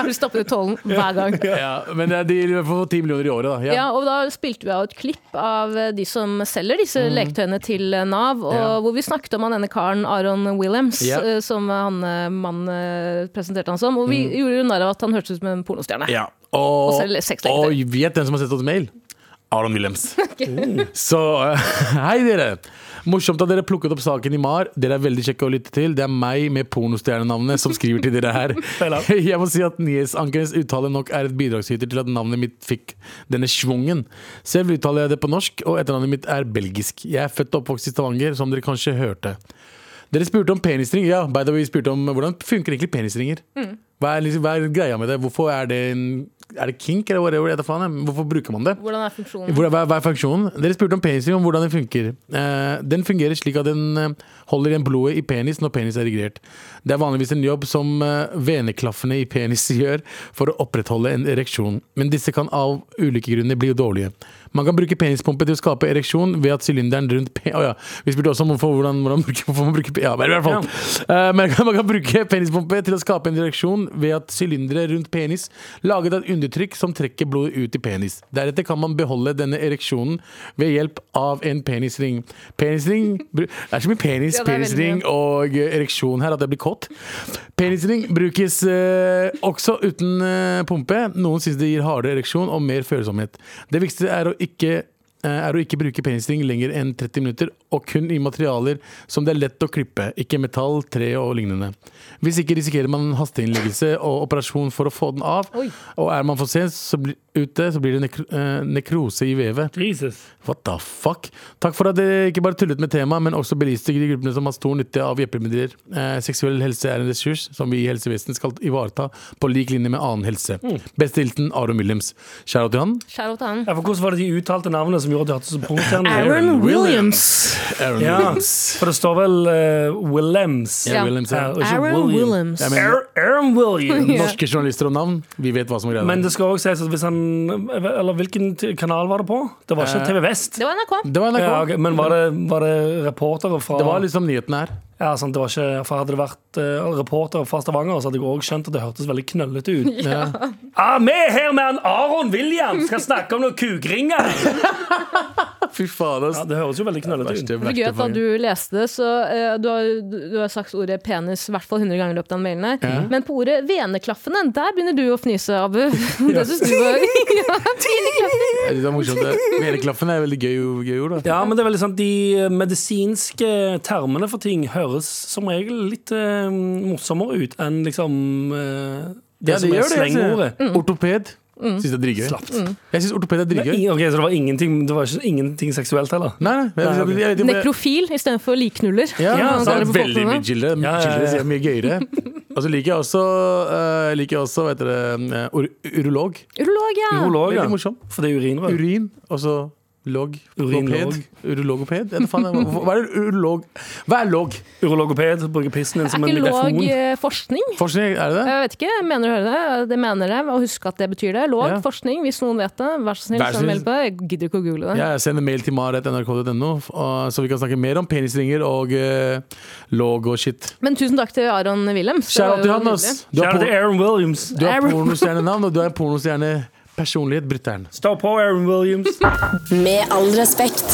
Speaker 4: Vi stopper i tollen hver gang.
Speaker 2: Ja, men eh, de får ti millioner i året, da.
Speaker 4: Ja, og da spilte vi av et klipp av eh, de som selger disse leketøyene til eh, Nav, og
Speaker 2: Mm. Ja.
Speaker 4: hvor vi snakket om han ene karen, Aron Williams,
Speaker 2: Ja.
Speaker 4: eh, som han eh, mannen eh, presenterte han som, og vi gjorde jo narr av at han hørtes ut som en pornostjerne.
Speaker 2: Mm. Ja. Og,
Speaker 4: Og selv seks leketøy.
Speaker 2: og vet den som har sett oss mail? Aron Williams. Så eh, hei, dere. Morsomt at dere plukket opp saken i MAR. Dere er veldig kjekke å lytte til. Det er meg med pornostjernenavnet som skriver til dere her. Jeg må si at nyhetsankerens uttale nok er et bidragsyter til at navnet mitt fikk denne schwungen. Selv uttaler jeg det på norsk, og etternavnet mitt er belgisk. Jeg er født og oppvokst i Stavanger, som dere kanskje hørte. Dere spurte om penisringer. Ja, by the way, vi spurte om hvordan funker egentlig penisringer. Hva, er, liksom, hva er greia med det? Hvorfor er det, en, er det kink eller whatever? Jeg vet da faen, jeg. Hvorfor bruker man det?
Speaker 4: Hvordan er funksjonen?
Speaker 2: Hvor, hva, hva er funksjonen? Dere spurte om penisring, om hvordan den funker. Eh, den fungerer slik at den eh, holder igjen blodet i penis når penis er erigert. Det er vanligvis en jobb som eh, veneklaffene i penis gjør for å opprettholde en ereksjon, men disse kan av ulike grunner bli dårlige. Man kan bruke penispumpe til å skape ereksjon ved at sylinderen rundt pe... Å ja, vi spurte også om hvorfor- hvordan, hvordan bruker, hvorfor man bruker pe- Ja, men i hvert fall. Eh, man, kan, man kan bruke penispumpe til å skape en ereksjon ved at sylindere rundt penis laget av et undertrykk som trekker blodet ut i penis. Deretter kan man beholde denne ereksjonen ved hjelp av en penisring. Penisring bru- Det er så mye penis,
Speaker 4: Ja, det er veldig
Speaker 2: penisring og eh, ereksjon her at jeg blir kåt. Penisring brukes eh, også uten eh, pumpe. Noen syns det gir hardere ereksjon og mer følsomhet. Det viktigste er å ikke eh, er å ikke bruke penisring lenger enn 30 minutter, og kun i materialer som det er lett å klippe, ikke metall, tre og lignende. Hvis ikke risikerer man hasteinnleggelse og operasjon for å få den av, og er man for sent så blir- ute, så blir det nekro eh, nekrose i vevet.
Speaker 3: Jesus.
Speaker 2: What the fuck? Takk for at dere ikke bare tullet med temaet, men også belyste de gruppene som har stor nytte av hjelpemidler. Eh, seksuell helse er en ressurs som vi i helsevesenet skal ivareta på lik linje med annen helse. Beste hilsen Aron Williams. Kjære til han.
Speaker 4: Shout out til han.
Speaker 3: Ja, for hvordan var det de uttalte navnet som gjorde at de hørtes som pornostjerner?
Speaker 4: Aaron Williams.
Speaker 2: Aron
Speaker 3: Ja, for det står vel eh, Willems.
Speaker 2: Ja, Williams, ja.
Speaker 3: Ja, og ikke William.
Speaker 4: Aaron Williams.
Speaker 2: Jeg mener,
Speaker 3: Ar- Aaron Williams.
Speaker 2: norske journalister og navn, vi vet hva som er greia.
Speaker 3: Men det skal også sies at hvis han Eller hvilken t- kanal var det på? Det var ikke TV Vest.
Speaker 4: Det var NRK.
Speaker 2: Eh. det var NRK.
Speaker 3: Ja, ok, men var det, var det reportere fra
Speaker 2: Det var liksom nyheten her.
Speaker 3: Ja, sant, det var ikke, for Hadde det vært eh, reportere fra Stavanger, så hadde jeg også skjønt at det hørtes veldig knøllete ut. Ah, vi er her med han Aron William skal snakke om noen kukringer!
Speaker 2: Fy faen, ass.
Speaker 3: Ja, det høres jo veldig knøllete ut.
Speaker 2: Verste,
Speaker 4: Det er gøy
Speaker 2: verste
Speaker 4: at da
Speaker 2: fange.
Speaker 4: du leste det, så eh, du, har, du har sagt ordet penis i hvert fall 100 ganger i løpet av den mailen her. Men på ordet veneklaffene, der begynner du å fnise, Abu. Det synes du var ja, veneklaffene.
Speaker 2: Det er morsomt. det. Veneklaffen er veldig gøy, gøy ord, da.
Speaker 3: Ja, men det er veldig sant De eh, medisinske termene for ting høres som regel litt eh, morsommere ut enn liksom eh, det,
Speaker 2: Ja,
Speaker 3: som er
Speaker 2: gjør altså.
Speaker 3: slengordet.
Speaker 2: Ortoped syns jeg er dritgøy. Jeg syns ortoped er
Speaker 3: Det er
Speaker 2: dritgøy.
Speaker 3: ingen- Ok, Så det var ingenting, det var ikke, ingenting seksuelt heller?
Speaker 2: Nei, nei. Jeg, jeg, jeg, jeg, jeg, jeg,
Speaker 4: Nekrofil istedenfor likknuller.
Speaker 2: Ja, altså, så
Speaker 3: Ja, sant.
Speaker 2: er det veldig
Speaker 4: Kaller
Speaker 2: mye
Speaker 4: befolkningen.
Speaker 2: chillere.
Speaker 3: Ja, ja, ja.
Speaker 2: Chillere sier mye gøyere. Og så liker jeg også, uh, liker jeg også hva heter det, eh, ur urolog.
Speaker 4: Urolog, ja.
Speaker 3: Urolog, ja.
Speaker 2: Veldig morsom.
Speaker 3: For det er urinrør.
Speaker 2: Urin, og så log.
Speaker 3: Urinlog.
Speaker 2: Logoped. Urologoped? Ja, det faen er- Hva hva er det urolog? Hva er log?
Speaker 3: Urologoped bruker pissen din
Speaker 4: Er
Speaker 3: som
Speaker 4: ikke
Speaker 3: en
Speaker 4: log
Speaker 3: mikrofon.
Speaker 4: eh, forskning?
Speaker 2: Forskning, er det det?
Speaker 4: Jeg vet ikke, mener du å høre det? Det mener jeg, og husk at det betyr det. Log
Speaker 2: Ja.
Speaker 4: forskning, hvis noen vet det. Vær så snill,
Speaker 2: Vær så
Speaker 4: send
Speaker 2: snill.
Speaker 4: meld på det. Jeg gidder ikke å google det.
Speaker 2: Ja, jeg sender mail til mar.nrk.no, og- så vi kan snakke mer om penisringer og eh, log og shit.
Speaker 4: Men tusen takk til Aron Wilhelms. Det
Speaker 2: Shout
Speaker 4: var
Speaker 2: out til
Speaker 4: jo
Speaker 2: han, ass!
Speaker 4: nydelig.
Speaker 2: Du har,
Speaker 3: Kjære til
Speaker 2: por
Speaker 3: Aaron Williams.
Speaker 2: du har
Speaker 4: Aaron.
Speaker 2: pornostjernenavn, og du har pornostjernepersonlighet, brutter'n.
Speaker 3: Stå på, Aaron Williams.
Speaker 5: Med all respekt.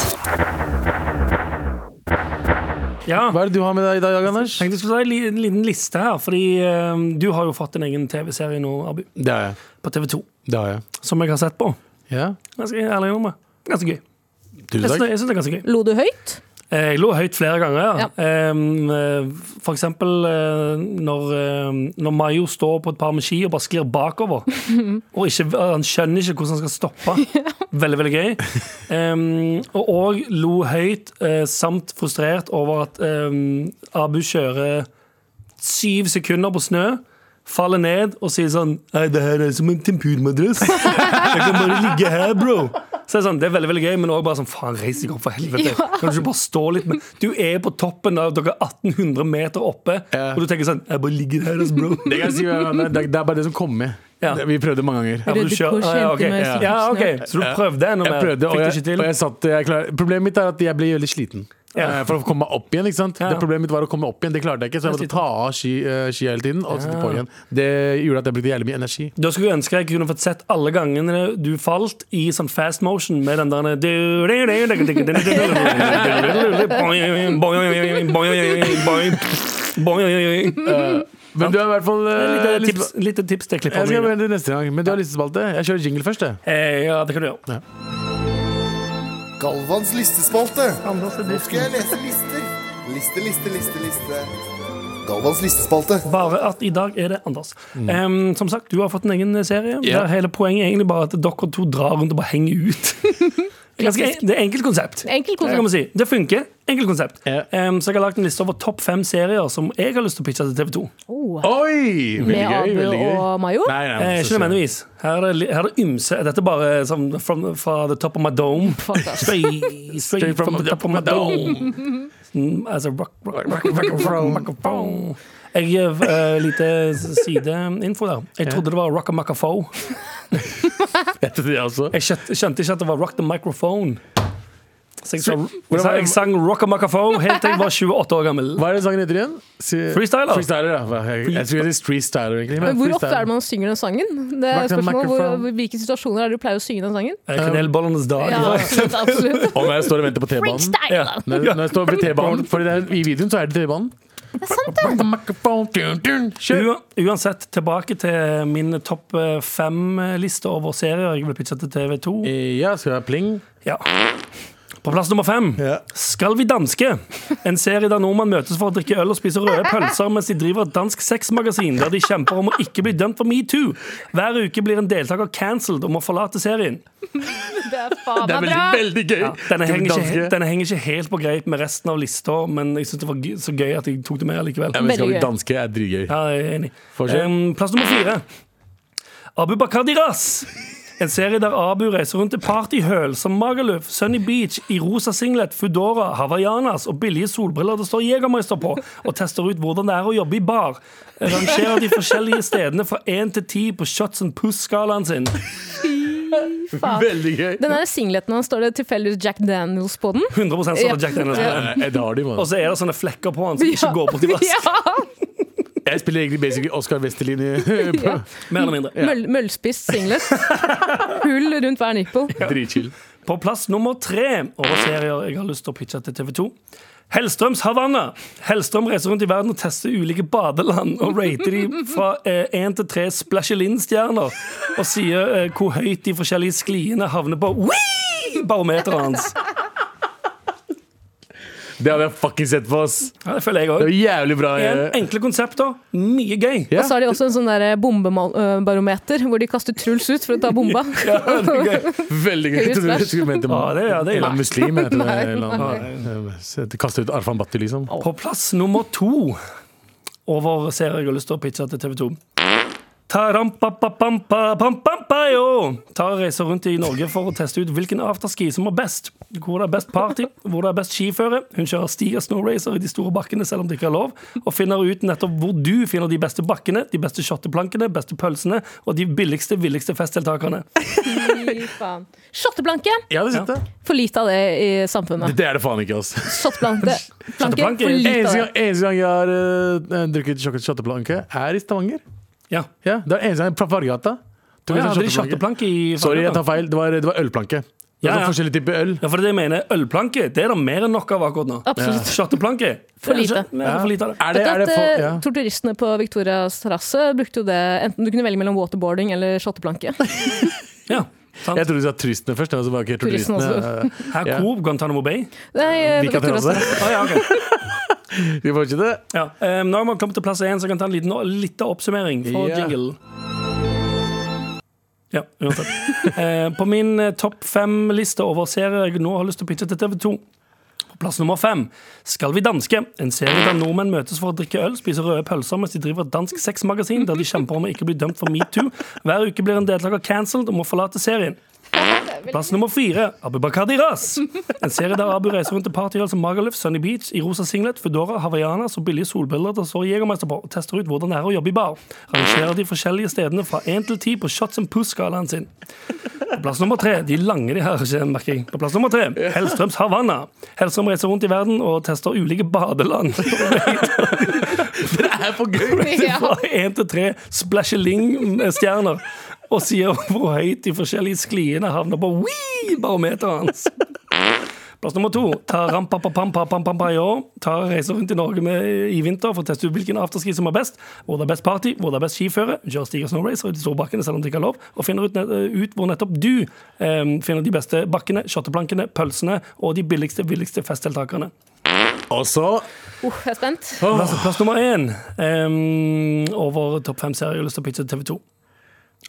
Speaker 3: Ja.
Speaker 2: Hva er det du har med deg i dag, Anders?
Speaker 3: Jeg tenkte jeg skulle ta en li- en liten liste her, fordi eh, du har jo fått en egen TV-serie nå, Abu,
Speaker 2: Det har jeg.
Speaker 3: på TV 2,
Speaker 2: Det har jeg.
Speaker 3: som jeg har sett på.
Speaker 2: Ja.
Speaker 3: Jeg skal ærlig innrømme. Ganske gøy.
Speaker 2: Tusen takk.
Speaker 3: Jeg syns det jeg synes det er ganske gøy.
Speaker 4: Lo du høyt?
Speaker 3: Eh, Jeg lo høyt flere ganger.
Speaker 4: Ja.
Speaker 3: Em, eh, For eksempel eh, når, eh, når Mayo står på et par med ski og bare sklir bakover. Og ikke, han skjønner ikke hvordan han skal stoppe. Veldig, veldig gøy. Em, og og lo høyt, eh, samt frustrert over at em, Abu kjører syv sekunder på snø. Faller ned og sier sånn Nei, det her er som en tempurmadrass. Jeg kan bare ligge her, bro. Så det er, sånn, det er veldig veldig gøy, men også bare sånn Faen, reis deg opp, for helvete. Kan du ikke bare stå litt med Du er på toppen av dere er 1800 meter oppe,
Speaker 2: Ja.
Speaker 3: og du tenker sånn Jeg bare ligger her, altså, bro.
Speaker 2: Det, kan jeg si, ja, det, det er bare det som kommer med.
Speaker 3: Ja.
Speaker 2: Det- Vi prøvde mange ganger.
Speaker 3: Ja, men du
Speaker 4: Røde
Speaker 3: kjører-
Speaker 4: Kors
Speaker 3: ah, ja, ok,
Speaker 4: henter meg
Speaker 3: ja.
Speaker 4: som
Speaker 3: ja, ok,
Speaker 4: snø.
Speaker 3: Så du prøvde ennå mer?
Speaker 2: Jeg prøvde, og
Speaker 3: Fikk det
Speaker 2: jeg,
Speaker 3: ikke til?
Speaker 2: og jeg satt jeg klarer- Problemet mitt er at jeg blir veldig sliten.
Speaker 3: Ja.
Speaker 2: Eh, For å komme meg opp igjen. ikke sant?
Speaker 3: Ja.
Speaker 2: Det problemet mitt var å komme meg opp igjen, det klarte jeg ikke. Så jeg måtte ta av ski, eh, skia hele tiden og sette på igjen. Det gjorde at jeg brukte jævlig mye energi.
Speaker 3: Da skulle jeg ønske jeg kunne fått sett alle gangene du falt i sånn fast motion med den der
Speaker 2: Men du har i hvert fall eh,
Speaker 3: Litt tips,
Speaker 2: liste-
Speaker 3: lite tips til
Speaker 2: Jeg
Speaker 3: klippene
Speaker 2: skal
Speaker 3: mine.
Speaker 2: gjøre det neste gang, men du har listespalte. Jeg kjører jingle først, jeg.
Speaker 3: Eh, Ja, det kan du gjøre.
Speaker 6: Galvans listespalte.
Speaker 3: Eh,
Speaker 6: Nå skal jeg lese lister. Liste, liste, liste, liste. Galvans listespalte.
Speaker 3: Bare at i dag er det Anders.
Speaker 2: Mm.
Speaker 3: Em, som sagt, du har fått en egen serie. Der hele poenget er egentlig bare at dere to drar rundt og bare henger ut. Ganske, en- det er enkelt konsept.
Speaker 4: Enkelt konsept.
Speaker 3: Det, kan man si. det funker. Enkelt konsept.
Speaker 2: Ja.
Speaker 3: Em, så jeg har lagt en liste over topp fem serier som jeg har lyst til å pitche til TV 2.
Speaker 4: Oh,
Speaker 2: Oi! Veldig
Speaker 4: Med
Speaker 2: gøy.
Speaker 4: Abu
Speaker 2: veldig gøy.
Speaker 4: og Mayo?
Speaker 2: Nei, nei,
Speaker 3: Eh, ikke nødvendigvis. Her er det, li- her er det ymse. Dette er bare sånn from, fra the top of my dome.
Speaker 4: Fuck, ass.
Speaker 3: Straight, straight from the top of my dome. Mm, Altså rock, rock, rock, rock, rock, rock, rock. Jeg gir eh, lite sideinfo der. Jeg trodde det var rock a macafo.
Speaker 2: Jeg trodde det også.
Speaker 3: Jeg skjønte, skjønte ikke at det var rock the microphone. Så jeg, sa, jeg,
Speaker 2: Hvordan
Speaker 3: sa,
Speaker 2: var det-
Speaker 3: jeg sang rock a macafo helt til jeg var 28 år gammel.
Speaker 2: Hva er det sangen heter igjen? Si-
Speaker 3: Freestyler.
Speaker 2: Freestyler, ja. Jeg, jeg skulle si Streestyler, egentlig.
Speaker 4: Men hvor ofte er det man synger den sangen? Det er
Speaker 2: Rock the
Speaker 4: spørsmålet, hvor,
Speaker 2: microphone.
Speaker 4: hvor- Hvilke situasjoner er det du pleier å synge den sangen?
Speaker 3: Eh, Kanelbollenes dag.
Speaker 4: Ja, absolutt, absolutt.
Speaker 2: Og når jeg står og venter på T-banen
Speaker 3: Ja.
Speaker 4: Freestyle!
Speaker 2: Når, når jeg står ved T-banen, for det er, i videoen så er det T-banen. Kjør.
Speaker 3: Ua- Uansett, tilbake til min topp eh, fem-liste over serier jeg vil pitche til TV2.
Speaker 2: Ja, skal jeg pling?
Speaker 3: Ja. På plass nummer fem Skal vi danske? En serie der nordmenn møtes for å drikke øl og spise røde pølser mens de driver et dansk sexmagasin der de kjemper om å ikke bli dømt for metoo. Hver uke blir en deltaker cancelled og må forlate serien.
Speaker 4: Det er faen
Speaker 2: Det er
Speaker 4: meg bra!
Speaker 2: veldig, veldig gøy.
Speaker 3: Denne
Speaker 2: Skal vi
Speaker 3: henger, ikke,
Speaker 2: danske?
Speaker 3: denne henger ikke helt på greip med resten av lista, men jeg synes det var gøy- så gøy at jeg tok det med likevel.
Speaker 2: Ja, men skal
Speaker 4: Veldig
Speaker 2: vi
Speaker 4: gøy.
Speaker 2: danske er dritgøy.
Speaker 3: Ja, jeg er enig.
Speaker 2: Fortsett.
Speaker 3: Em, plass nummer fire. Abu Bakar Diraz. En serie der Abu reiser rundt til partyhøl som Magaluf, Sunny Beach, i rosa singlet, Foodora, Hawaiianas og billige solbriller det står Jegermeister på, og tester ut hvordan det er å jobbe i bar. Rangerer de forskjellige stedene fra én til ti på shots and puss-skalaen sin.
Speaker 4: Faen.
Speaker 2: Veldig gøy.
Speaker 4: Den der singleten hans, står det tilfeldigvis Jack Daniels på den?
Speaker 3: 100 står det Jack Daniels på den.
Speaker 2: Jeg har de,
Speaker 3: Og
Speaker 2: mann.
Speaker 3: så er det sånne flekker på han som ikke går bort i vask.
Speaker 4: Ja.
Speaker 2: Jeg spiller egentlig basic Oscar Westerlin i på-
Speaker 3: Mer eller mindre.
Speaker 4: Møll, møllspiss singlet. Hull rundt hver nippel.
Speaker 2: Dritchill.
Speaker 3: På plass nummer tre over serier jeg har lyst til å pitche til TV 2. Hellstrøms Havanna. Hellstrøm reiser rundt i verden og tester ulike badeland og rater de fra én til tre Splashelin-stjerner og sier eh, hvor høyt de forskjellige skliene havner på Whee! barometeret hans.
Speaker 2: Det hadde jeg fucking sett på, ass.
Speaker 3: Ja, det føler jeg
Speaker 2: Det var
Speaker 3: òg.
Speaker 2: jævlig bra. eh.
Speaker 3: Enkle konsepter, mye gøy.
Speaker 2: Ja.
Speaker 4: Og så har de også en sånn der bombebarometer, hvor de kaster Truls ut for å ta bomba.
Speaker 3: Ja, det er gøy.
Speaker 2: Veldig gøy. Jeg trodde du skulle mente
Speaker 3: Ja, det, ja, det er
Speaker 2: Eller
Speaker 3: ille.
Speaker 2: muslim, heter det. Eller noe. Så de Kaster ut Arfan Bhatti, liksom.
Speaker 3: På plass nummer to over serier jeg har lyst til å pitche til TV 2. Tarampapampampampampampayo Tara reiser rundt i Norge for å teste ut hvilken afterski som er best. Hvor det er best party, hvor det er best skiføre. Hun kjører sti og snowracer i de store bakkene selv om det ikke er lov, og finner ut nettopp hvor du finner de beste bakkene, de beste shotteplankene, beste pølsene og de billigste, villigste festdeltakerne.
Speaker 4: Fy faen. Shotteplanke!
Speaker 2: Jeg hadde sett det.
Speaker 4: For lite av det i samfunnet.
Speaker 2: Det er det faen ikke, ass.
Speaker 4: Shotteplanke. Planke,
Speaker 3: Shotteplanke.
Speaker 4: for lite
Speaker 2: Eneste
Speaker 4: av
Speaker 2: gang,
Speaker 4: det.
Speaker 2: eneste gang jeg har eh, drukket sjokket shotteplanke, er i Stavanger.
Speaker 3: Ja.
Speaker 2: Ja, det var eneste gang fra Fargata. Tok
Speaker 3: Og
Speaker 2: jeg
Speaker 3: jeg
Speaker 2: sånn
Speaker 3: hadde de
Speaker 2: shotteplanke.
Speaker 3: shotteplanke i
Speaker 2: Sorry, jeg tar feil. Det var, det var ølplanke. Det var
Speaker 3: Ja,
Speaker 2: sånn
Speaker 3: ja.
Speaker 2: Forskjellige typer øl.
Speaker 3: Ja, for det jeg mener, ølplanke, det er det mer enn nok av akkurat nå.
Speaker 4: Absolutt.
Speaker 3: Shotteplanke.
Speaker 4: For
Speaker 3: det er
Speaker 4: lite.
Speaker 3: ikke- det er For lite av det.
Speaker 2: Er det,
Speaker 4: Vet du
Speaker 2: er
Speaker 4: at
Speaker 2: det for,
Speaker 4: eh,
Speaker 2: ja.
Speaker 4: Torturistene på Victorias terrasse brukte jo det Enten du kunne velge mellom waterboarding eller shotteplanke.
Speaker 3: Ja. Sant.
Speaker 2: Jeg trodde du sa turistene først. Og så bare, ok, jeg tror
Speaker 4: Turistene også.
Speaker 2: turistene, eh,
Speaker 3: Her,
Speaker 2: ja.
Speaker 3: Coop, Guantánamo Bay.
Speaker 4: Nei, eh,
Speaker 2: Vi kan
Speaker 4: Victor
Speaker 2: ta
Speaker 4: Hansen.
Speaker 2: oss.
Speaker 3: Å, ja, ok.
Speaker 2: Vi fortsetter.
Speaker 3: ja. Eh, nå har vi kommet til plass én, så jeg kan ta en liten liten oppsummering fra
Speaker 2: Ja.
Speaker 3: jingle. Ja, uansett. Eh, på min eh, topp fem-liste over serier jeg nå har lyst til å pitche til TV2, på plass nummer fem, Skal vi danske? En serie der nordmenn møtes for å drikke øl, spise røde pølser mens de driver et dansk sexmagasin der de kjemper om å ikke bli dømt for metoo. Hver uke blir en deltaker cancelled og må forlate serien. Plass nummer fire, Abu Bakadi Ras. En serie der Abu reiser rundt til partyhjell som Magaluf, Sunny Beach, i rosa singlet, Foodora, Havajanas og billige solbriller der står Jegermeister på, og tester ut hvordan det er å jobbe i bar. Rangerer de forskjellige stedene fra 1 til 10 på shots and puss-skalaen sin. På plass nummer tre, de er lange de her, ikke merker jeg. På plass nummer tre, Hellstrøms Havanna. Hellstrøm reiser rundt i verden og tester ulike badeland.
Speaker 2: Det er for gøy!
Speaker 4: Ja.
Speaker 3: Fra én til tre splasjeling-stjerner. Og sier hvor høyt de forskjellige skliene havner på wii barometeret hans. Plass nummer to. Ta rampapapampa-pampa i år. Ta reiser rundt i Norge med, i vinter for å teste ut hvilken afterski som er best. Hvor det er best party, hvor det er best skiføre. Kjør stig og snowracer i de store bakkene selv om det ikke er lov. Og finner ut, net- ut hvor nettopp du eh, finner de beste bakkene, shotteplankene, pølsene og de billigste, billigste festdeltakerne.
Speaker 2: Og så
Speaker 4: Uh, jeg er spent.
Speaker 3: Plass, plass nummer én ehm, over topp fem serier jeg har lyst til å pitche til TV 2.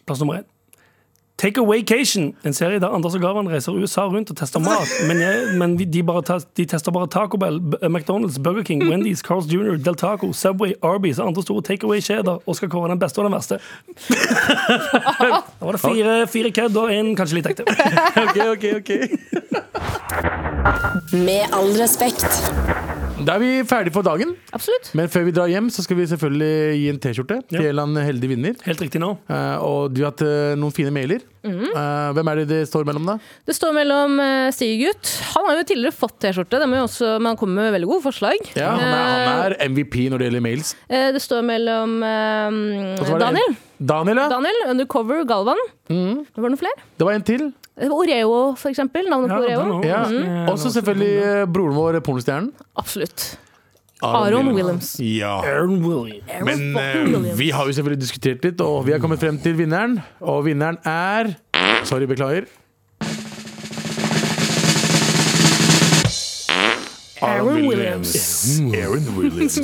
Speaker 3: Plass nummer én. Take a Vacation, en serie der Anders og Gavan reiser USA rundt og tester mat. Men, jeg, men vi- de, bare tes- de tester bare Taco Bell, B- eh, McDonald's, Burger King, Wendy's, Carl's Jr., Del Taco, Subway, Arby's og andre store takeaway-kjeder og skal kåre den beste og den verste. Da var det fire, fire kødd og én kanskje litt ekte.
Speaker 2: OK, OK. ok
Speaker 5: Med all respekt.
Speaker 2: Da er vi ferdige for dagen.
Speaker 4: Absolutt.
Speaker 2: Men før vi drar hjem, så skal vi selvfølgelig gi en T-skjorte til en eller annen heldig vinner.
Speaker 3: Helt riktig nå.
Speaker 2: Eh, og du har hatt eh, noen fine mailer.
Speaker 4: Mhm.
Speaker 2: Eh, hvem er det det står mellom, da?
Speaker 4: Det står mellom eh, Stigegutt. Han har jo tidligere fått T-skjorte, det må jo også- men han kommer med veldig gode forslag.
Speaker 2: Ja, han, er, han er MVP når det gjelder mails.
Speaker 4: Eh, Det står mellom eh,
Speaker 2: Og så var det en-
Speaker 4: Daniel.
Speaker 2: Daniel, ja.
Speaker 4: Daniel, Undercover, Galvan.
Speaker 2: Mm.
Speaker 4: Det var det noen flere.
Speaker 2: Det var en til.
Speaker 4: Eh, Oreo, for eksempel. Navnet på
Speaker 3: den Ehm,
Speaker 4: Oreo.
Speaker 3: også.
Speaker 2: Ja.
Speaker 4: Mhm.
Speaker 2: Også selvfølgelig eh, broren vår, pornostjernen.
Speaker 4: Absolutt. Aron Williams.
Speaker 2: Ja.
Speaker 3: Aaron Williams.
Speaker 2: Men eh, vi har jo selvfølgelig diskutert litt, og vi har kommet frem til vinneren. Og vinneren er Sorry, beklager.
Speaker 4: Aaron Williams.
Speaker 2: Aaron Williams.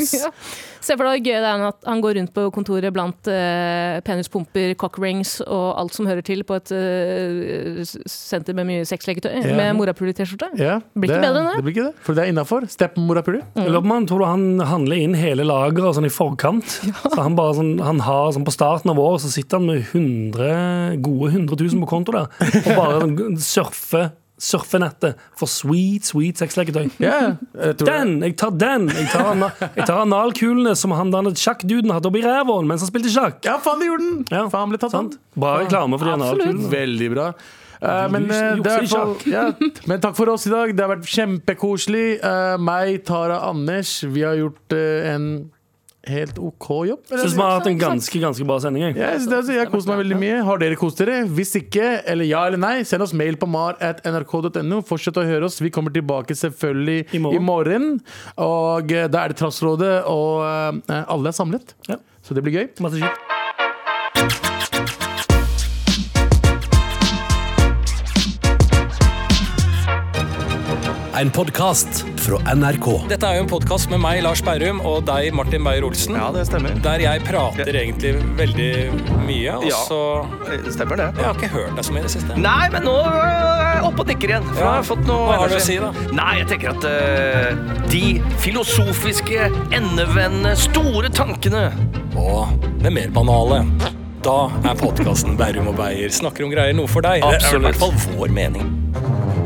Speaker 4: Se for deg hvor gøy det er at han går rundt på kontoret blant eh, penispumper, cockrings og alt som hører til på et eh, s- senter med mye sexleketøy,
Speaker 2: Ja.
Speaker 4: med morapuler-T-skjorte.
Speaker 2: Ja,
Speaker 4: Blir ikke bedre enn det.
Speaker 2: det blir ikke det. For det er innafor. Step morapuler.
Speaker 3: Jeg lurer på om han tror du han handler inn hele lageret sånn i forkant. Så han bare sånn, han har sånn På starten av året så sitter han med 100, gode 100 000 på konto der og bare sånn surfer surfenettet for sweet, sweet sexleketøy.
Speaker 2: Ja, jeg tror det.
Speaker 3: Den! Jeg tar den! Jeg tar, ana- jeg tar analkulene som han denne sjakkduden hadde oppi ræva mens han spilte sjakk.
Speaker 2: ja faen, det gjorde den!
Speaker 3: Ja,
Speaker 2: faen, han ble tatt
Speaker 3: Sant?
Speaker 2: av.
Speaker 3: Bra reklame for de analkulene.
Speaker 2: Veldig bra. Eh, men,
Speaker 3: Du
Speaker 2: eh, det er i
Speaker 3: jukser
Speaker 2: hvert
Speaker 3: i
Speaker 2: fall- ja, men takk for oss i dag. Det har vært kjempekoselig. Eh, meg, Tara, Anders. Vi har gjort eh, en helt OK jobb. eller?
Speaker 3: Syns vi har hatt en ganske, ganske bra sending. Jeg.
Speaker 2: Ja, Jeg, synes det, altså, jeg koser meg veldig mye. Har dere kost dere? Hvis ikke, eller ja eller nei, send oss mail på mar.nrk.no. Fortsett å høre oss. Vi kommer tilbake selvfølgelig
Speaker 3: I
Speaker 2: i
Speaker 3: morgen.
Speaker 2: morgen. Og eh, da er det Trassrådet, og eh, alle er samlet.
Speaker 3: Ja.
Speaker 2: Så det blir gøy.
Speaker 3: Masse shit.
Speaker 7: En podkast fra NRK.
Speaker 9: Dette er jo en podkast med meg, Lars Berrum, og deg, Martin Beyer-Olsen.
Speaker 10: Ja, det stemmer.
Speaker 9: Der jeg prater egentlig veldig mye, og
Speaker 10: Ja.
Speaker 9: så
Speaker 10: Det Eh, stemmer det.
Speaker 9: Jeg har ikke hørt deg så mye i det siste.
Speaker 10: Nei, men nå øh, er jeg oppe og nikker igjen. For
Speaker 9: Ja.
Speaker 10: nå har jeg fått noe
Speaker 9: Hva har du å
Speaker 10: energi.
Speaker 9: si, da?
Speaker 10: Nei, jeg tenker at øh, de filosofiske, endevendende, store tankene
Speaker 9: Og det mer banale. Da er podkasten Berrum og Beyer snakker om greier noe for deg. Det er i
Speaker 10: Absolutt.
Speaker 9: hvert fall vår mening.